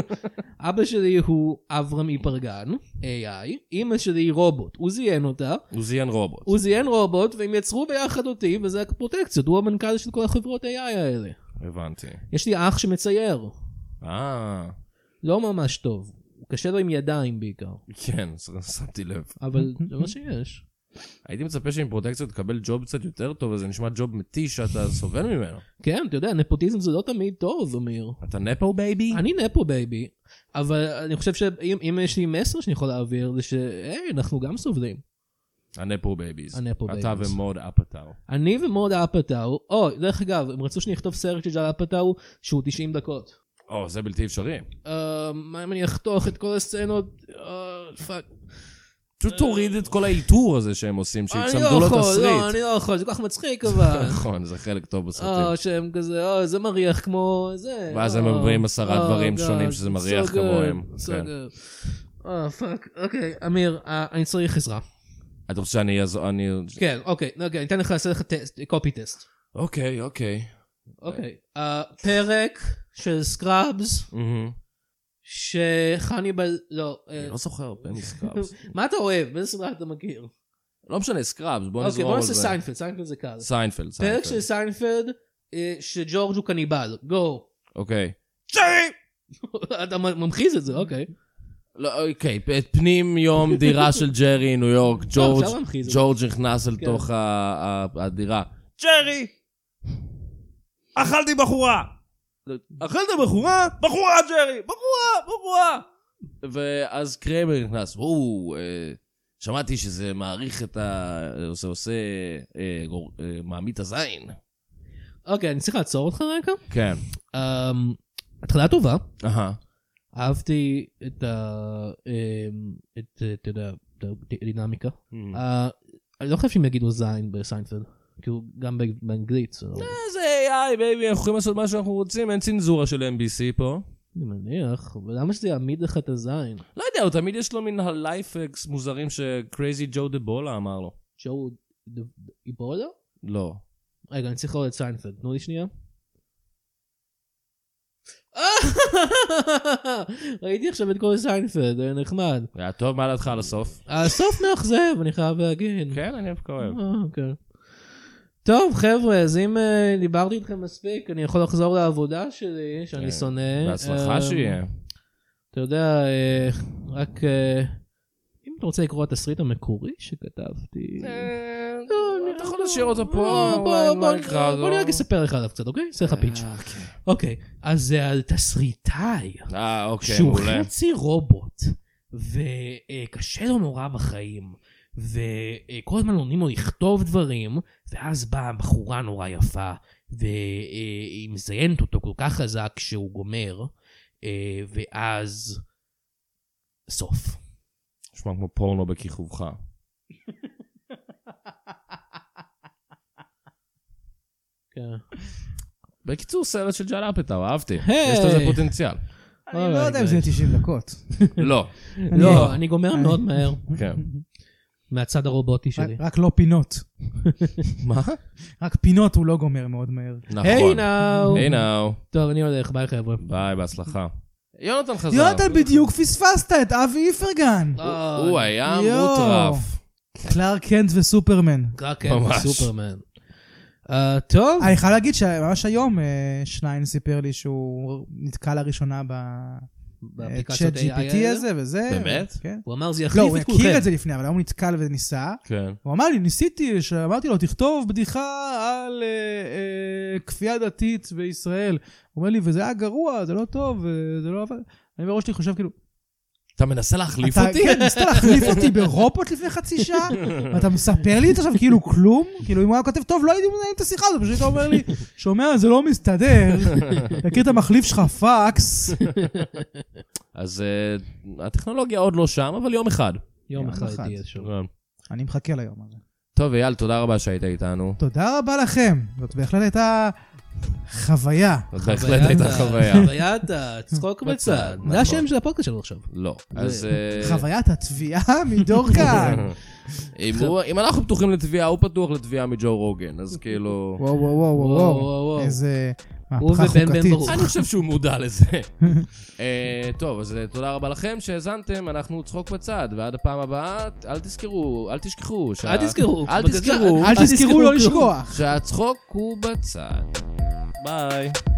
Speaker 3: אבא שלי הוא אברהם איפרגן, AI. אימא שלי היא רובוט, הוא זיין אותה.
Speaker 2: הוא זיין רובוט.
Speaker 3: הוא זיין רובוט, והם יצרו ביחד אותי, וזה הפרוטקציות. הוא המנכ"ל של כל החברות AI האלה.
Speaker 2: הבנתי.
Speaker 3: יש לי אח שמצייר.
Speaker 2: אה,
Speaker 3: לא ממש טוב. הוא קשה לו עם ידיים בעיקר.
Speaker 2: כן, ש- שמתי לב.
Speaker 3: אבל זה מה שיש.
Speaker 2: הייתי מצפה שעם פרוטקציות תקבל ג'וב קצת יותר טוב, אז זה נשמע ג'וב מתיש שאתה סובל ממנו.
Speaker 3: כן, אתה יודע, נפוטיזם זה לא תמיד טוב, אמיר.
Speaker 2: אתה נפו בייבי?
Speaker 3: אני נפו בייבי, אבל אני חושב שאם אם יש לי מסר שאני יכול להעביר, זה ש... היי, אנחנו גם סובלים.
Speaker 2: הנפו בייביז.
Speaker 3: הנפו
Speaker 2: אתה
Speaker 3: בייביז.
Speaker 2: ומוד אפאטאו.
Speaker 3: אני ומוד אפאטאו, או, דרך אגב, הם רצו שאני אכתוב סרט של ג'ל אפאטאו שהוא 90 דקות.
Speaker 2: או, זה בלתי אפשרי.
Speaker 3: אה, מה אם אני אחתוך את כל הסצנות? אה, פאק.
Speaker 2: פשוט תוריד את כל האלתור הזה שהם עושים,
Speaker 3: אני
Speaker 2: שיצמדו
Speaker 3: לא
Speaker 2: לו
Speaker 3: יכול, לא,
Speaker 2: תסריט.
Speaker 3: אני אה, לא יכול, זה כל כך
Speaker 2: *laughs*
Speaker 3: מצחיק אבל.
Speaker 2: נכון, זה חלק טוב
Speaker 3: או,
Speaker 2: בסרטים.
Speaker 3: שהם כזה, או, זה מריח כמו זה. אה,
Speaker 2: ואז הם
Speaker 3: או,
Speaker 2: אומרים עשרה
Speaker 3: או,
Speaker 2: דברים
Speaker 3: God,
Speaker 2: שונים שזה
Speaker 3: so
Speaker 2: מריח
Speaker 3: good,
Speaker 2: כמוהם,
Speaker 3: so
Speaker 2: כן.
Speaker 3: good. אה, פאק, אוקיי, אמיר, אה, אני צריך עזרה.
Speaker 2: אתה רוצה שאני אעזור, אני...
Speaker 3: כן, אוקיי, אוקיי, אני אתן לך, אעשה לך טסט, קופי טסט.
Speaker 2: אוקיי, אוקיי.
Speaker 3: אוקיי. אה, פרק של סקראבס,
Speaker 2: מהמם.
Speaker 3: שחניבל, לא, אה,
Speaker 2: אני לא זוכר הרבה מסקראבס.
Speaker 3: מה אתה אוהב? איזה סדרה אתה מכיר?
Speaker 2: לא משנה, סקראבס, בוא
Speaker 3: אוקיי,
Speaker 2: נזרום
Speaker 3: בוא
Speaker 2: על
Speaker 3: נעשה
Speaker 2: זה.
Speaker 3: סיינפלד, סיינפלד זה קל.
Speaker 2: סיינפלד,
Speaker 3: פרק של
Speaker 2: סיינפלד.
Speaker 3: סיינפלד, אה, שג'ורג' הוא קניבל, גו. *laughs*
Speaker 2: אוקיי.
Speaker 3: אתה מ- ממחיז את זה, אוקיי.
Speaker 2: לא, אוקיי, פ- פנים יום דירה של ג'רי, ניו
Speaker 3: *laughs*
Speaker 2: יורק, ג'ורג'
Speaker 3: אפשר להמחיז את לא, זה.
Speaker 2: ג'ורג' נכנס אל
Speaker 3: כן.
Speaker 2: תוך ה- ה- הדירה.
Speaker 5: ג'רי! אכלתי בחורה!
Speaker 2: אכלת בחורה?
Speaker 5: בחורה, ג'רי! בחורה! בחורה!
Speaker 2: ואז קריימר נכנס, וואו, אה, שמעתי שזה מעריך את ה... זה עושה... אה, גור- אה, מעמיד את הזין.
Speaker 3: אוקיי, אני צריך לעצור אותך רגע.
Speaker 2: כן.
Speaker 3: אמ, התחלה טובה,
Speaker 2: אהה.
Speaker 3: אהבתי את ה... אמ, את, אה, אתה יודע, את הדינמיקה.
Speaker 2: אה,
Speaker 3: אה, אני לא חושב שהם יגידו זין בסיינפלד, כאילו גם ב- באנגלית. זה לא-
Speaker 2: אה. זה AI, בייבי, אנחנו יכולים לעשות מה שאנחנו רוצים, אין צנזורה של NBC פה.
Speaker 3: אני מניח, אבל למה שזה יעמיד לך את הזין?
Speaker 2: לא יודע, הוא תמיד יש לו מן הלייפקס מוזרים שקרייזי ג'ו דה בולה אמר לו.
Speaker 3: ג'ו ד- איבולה?
Speaker 2: לא.
Speaker 3: רגע, אני צריך לראות את סיינפלד, תנו לי שנייה. *laughs* ראיתי עכשיו את כל סיינפלד, היה נחמד.
Speaker 2: היה טוב, מה דעתך על הסוף?
Speaker 3: הסוף מאכזב, אני חייב להגיד.
Speaker 2: כן, אני דווקא אוהב.
Speaker 3: אה, כן. טוב, חבר'ה, אז אם אה, דיברתי איתכם מספיק, אני יכול לחזור לעבודה שלי, שאני
Speaker 2: כן.
Speaker 3: שונא.
Speaker 2: בהצלחה
Speaker 3: אה,
Speaker 2: שיהיה.
Speaker 3: אתה יודע, אה, רק אה, אם אתה רוצה לקרוא את התסריט המקורי שכתבתי...
Speaker 2: אה, אתה יכול להשאיר אותו פה,
Speaker 3: אה, בוא-
Speaker 2: אולי
Speaker 3: בוא-
Speaker 2: לא נקרא אה. אותו.
Speaker 3: בוא אני רק אספר לך עליו קצת, אוקיי? אעשה לך פיץ'. אוקיי, אז זה על תסריטאי,
Speaker 2: כן. אה, אוקיי,
Speaker 3: שהוא
Speaker 2: מעולה.
Speaker 3: חצי רובוט, וקשה לו נורא בחיים, וכל הזמן נותנים לו לכתוב דברים, ואז באה בחורה נורא יפה, והיא מזיינת אותו כל כך חזק שהוא גומר, אה, ואז... סוף.
Speaker 2: נשמע כמו פורנו בכיכובך.
Speaker 3: כן.
Speaker 2: בקיצור, סרט של ג'ל אפטאו, אהבתי.
Speaker 3: היי.
Speaker 2: יש לזה פוטנציאל.
Speaker 4: אני לא יודע אם זה אה. יהיה 90 דקות.
Speaker 2: לא.
Speaker 3: לא, אני גומר מאוד מהר.
Speaker 2: כן.
Speaker 3: מהצד הרובוטי שלי.
Speaker 4: רק- רק לא פינות. אה,
Speaker 2: מה?
Speaker 4: רק פינות הוא לא גומר מאוד מהר.
Speaker 2: נכון.
Speaker 3: היי נאו.
Speaker 2: היי נאו.
Speaker 3: טוב, אני הולך, ביי חבר'ה.
Speaker 2: ביי, בהצלחה. יונתן חזר.
Speaker 4: יונתן, בדיוק פספסת את אבי איפרגן.
Speaker 3: לא.
Speaker 2: הוא- הוא היה
Speaker 4: יואו.
Speaker 2: מוטרף.
Speaker 4: קלארק קנט וסופרמן.
Speaker 3: קרקן
Speaker 2: ממש.
Speaker 3: סופרמן. אה, טוב,
Speaker 4: אני חייב להגיד שממש היום אה, שניין סיפר לי שהוא נתקע לראשונה בצ'אט
Speaker 3: באפליקציות AI
Speaker 4: GPT הזה וזה.
Speaker 2: באמת?
Speaker 4: כן.
Speaker 3: הוא אמר זה
Speaker 4: לא,
Speaker 3: יחליף
Speaker 4: הוא
Speaker 3: את כולכם.
Speaker 4: הכיר את זה לפני, אבל היום הוא נתקל וניסה.
Speaker 2: כן.
Speaker 4: הוא אמר לי, ניסיתי, שאמרתי לו, תכתוב בדיחה על אה, אה, כפייה דתית בישראל. הוא אומר לי, וזה היה גרוע, זה לא טוב, אה, זה לא עבד. אני בראש שלי חושב כאילו,
Speaker 2: אתה מנסה להחליף
Speaker 4: אתה
Speaker 2: אותי?
Speaker 4: כן, ניסית להחליף אותי ברובוט לפני חצי שעה, ואתה מספר לי את זה עכשיו כאילו כלום? כאילו אם הוא היה כותב טוב, לא הייתי מנהל את השיחה הזאת, פשוט היית אומר לי, שומע, זה לא
Speaker 2: *laughs*
Speaker 4: מסתדר, מכיר את המחליף שלך, פאקס.
Speaker 2: אז אה, הטכנולוגיה עוד לא שם, אבל יום אחד.
Speaker 3: יום
Speaker 4: יום
Speaker 3: אחד
Speaker 4: אחד.
Speaker 3: תהיה שם.
Speaker 4: אני מחכה ליום הזה.
Speaker 2: טוב, אייל, תודה רבה שהיית איתנו.
Speaker 4: תודה רבה לכם, זאת בהחלט הייתה חוויה.
Speaker 2: זאת בהחלט הייתה חוויה.
Speaker 3: חוויית הצחוק בצד.
Speaker 2: נכון.
Speaker 3: זה השם של הפודקאסט שלנו עכשיו.
Speaker 2: לא. אז... אה,
Speaker 4: חוויית התביעה *laughs* מדורקן.
Speaker 2: *laughs* אם הוא- אם אנחנו פתוחים לתביעה, הוא פתוח לתביעה מג'ו רוגן, אז כאילו...
Speaker 4: וואו וואו וואו
Speaker 3: וואו, וואו,
Speaker 4: וואו,
Speaker 3: וואו.
Speaker 4: איזה
Speaker 3: הוא
Speaker 4: מהפכה
Speaker 3: ובן בן
Speaker 4: חוקתית.
Speaker 3: ברוך.
Speaker 2: אני חושב שהוא מודע לזה. אה, טוב, אז אה, תודה רבה לכם שהאזנתם, אנחנו צחוק בצד, ועד הפעם הבאה, אל תזכרו, אל תשכחו. שה-
Speaker 3: אל תזכרו.
Speaker 2: אל תזכרו
Speaker 4: אל תזכרו לא לשכוח.
Speaker 2: שהצחוק הוא בצד. ביי.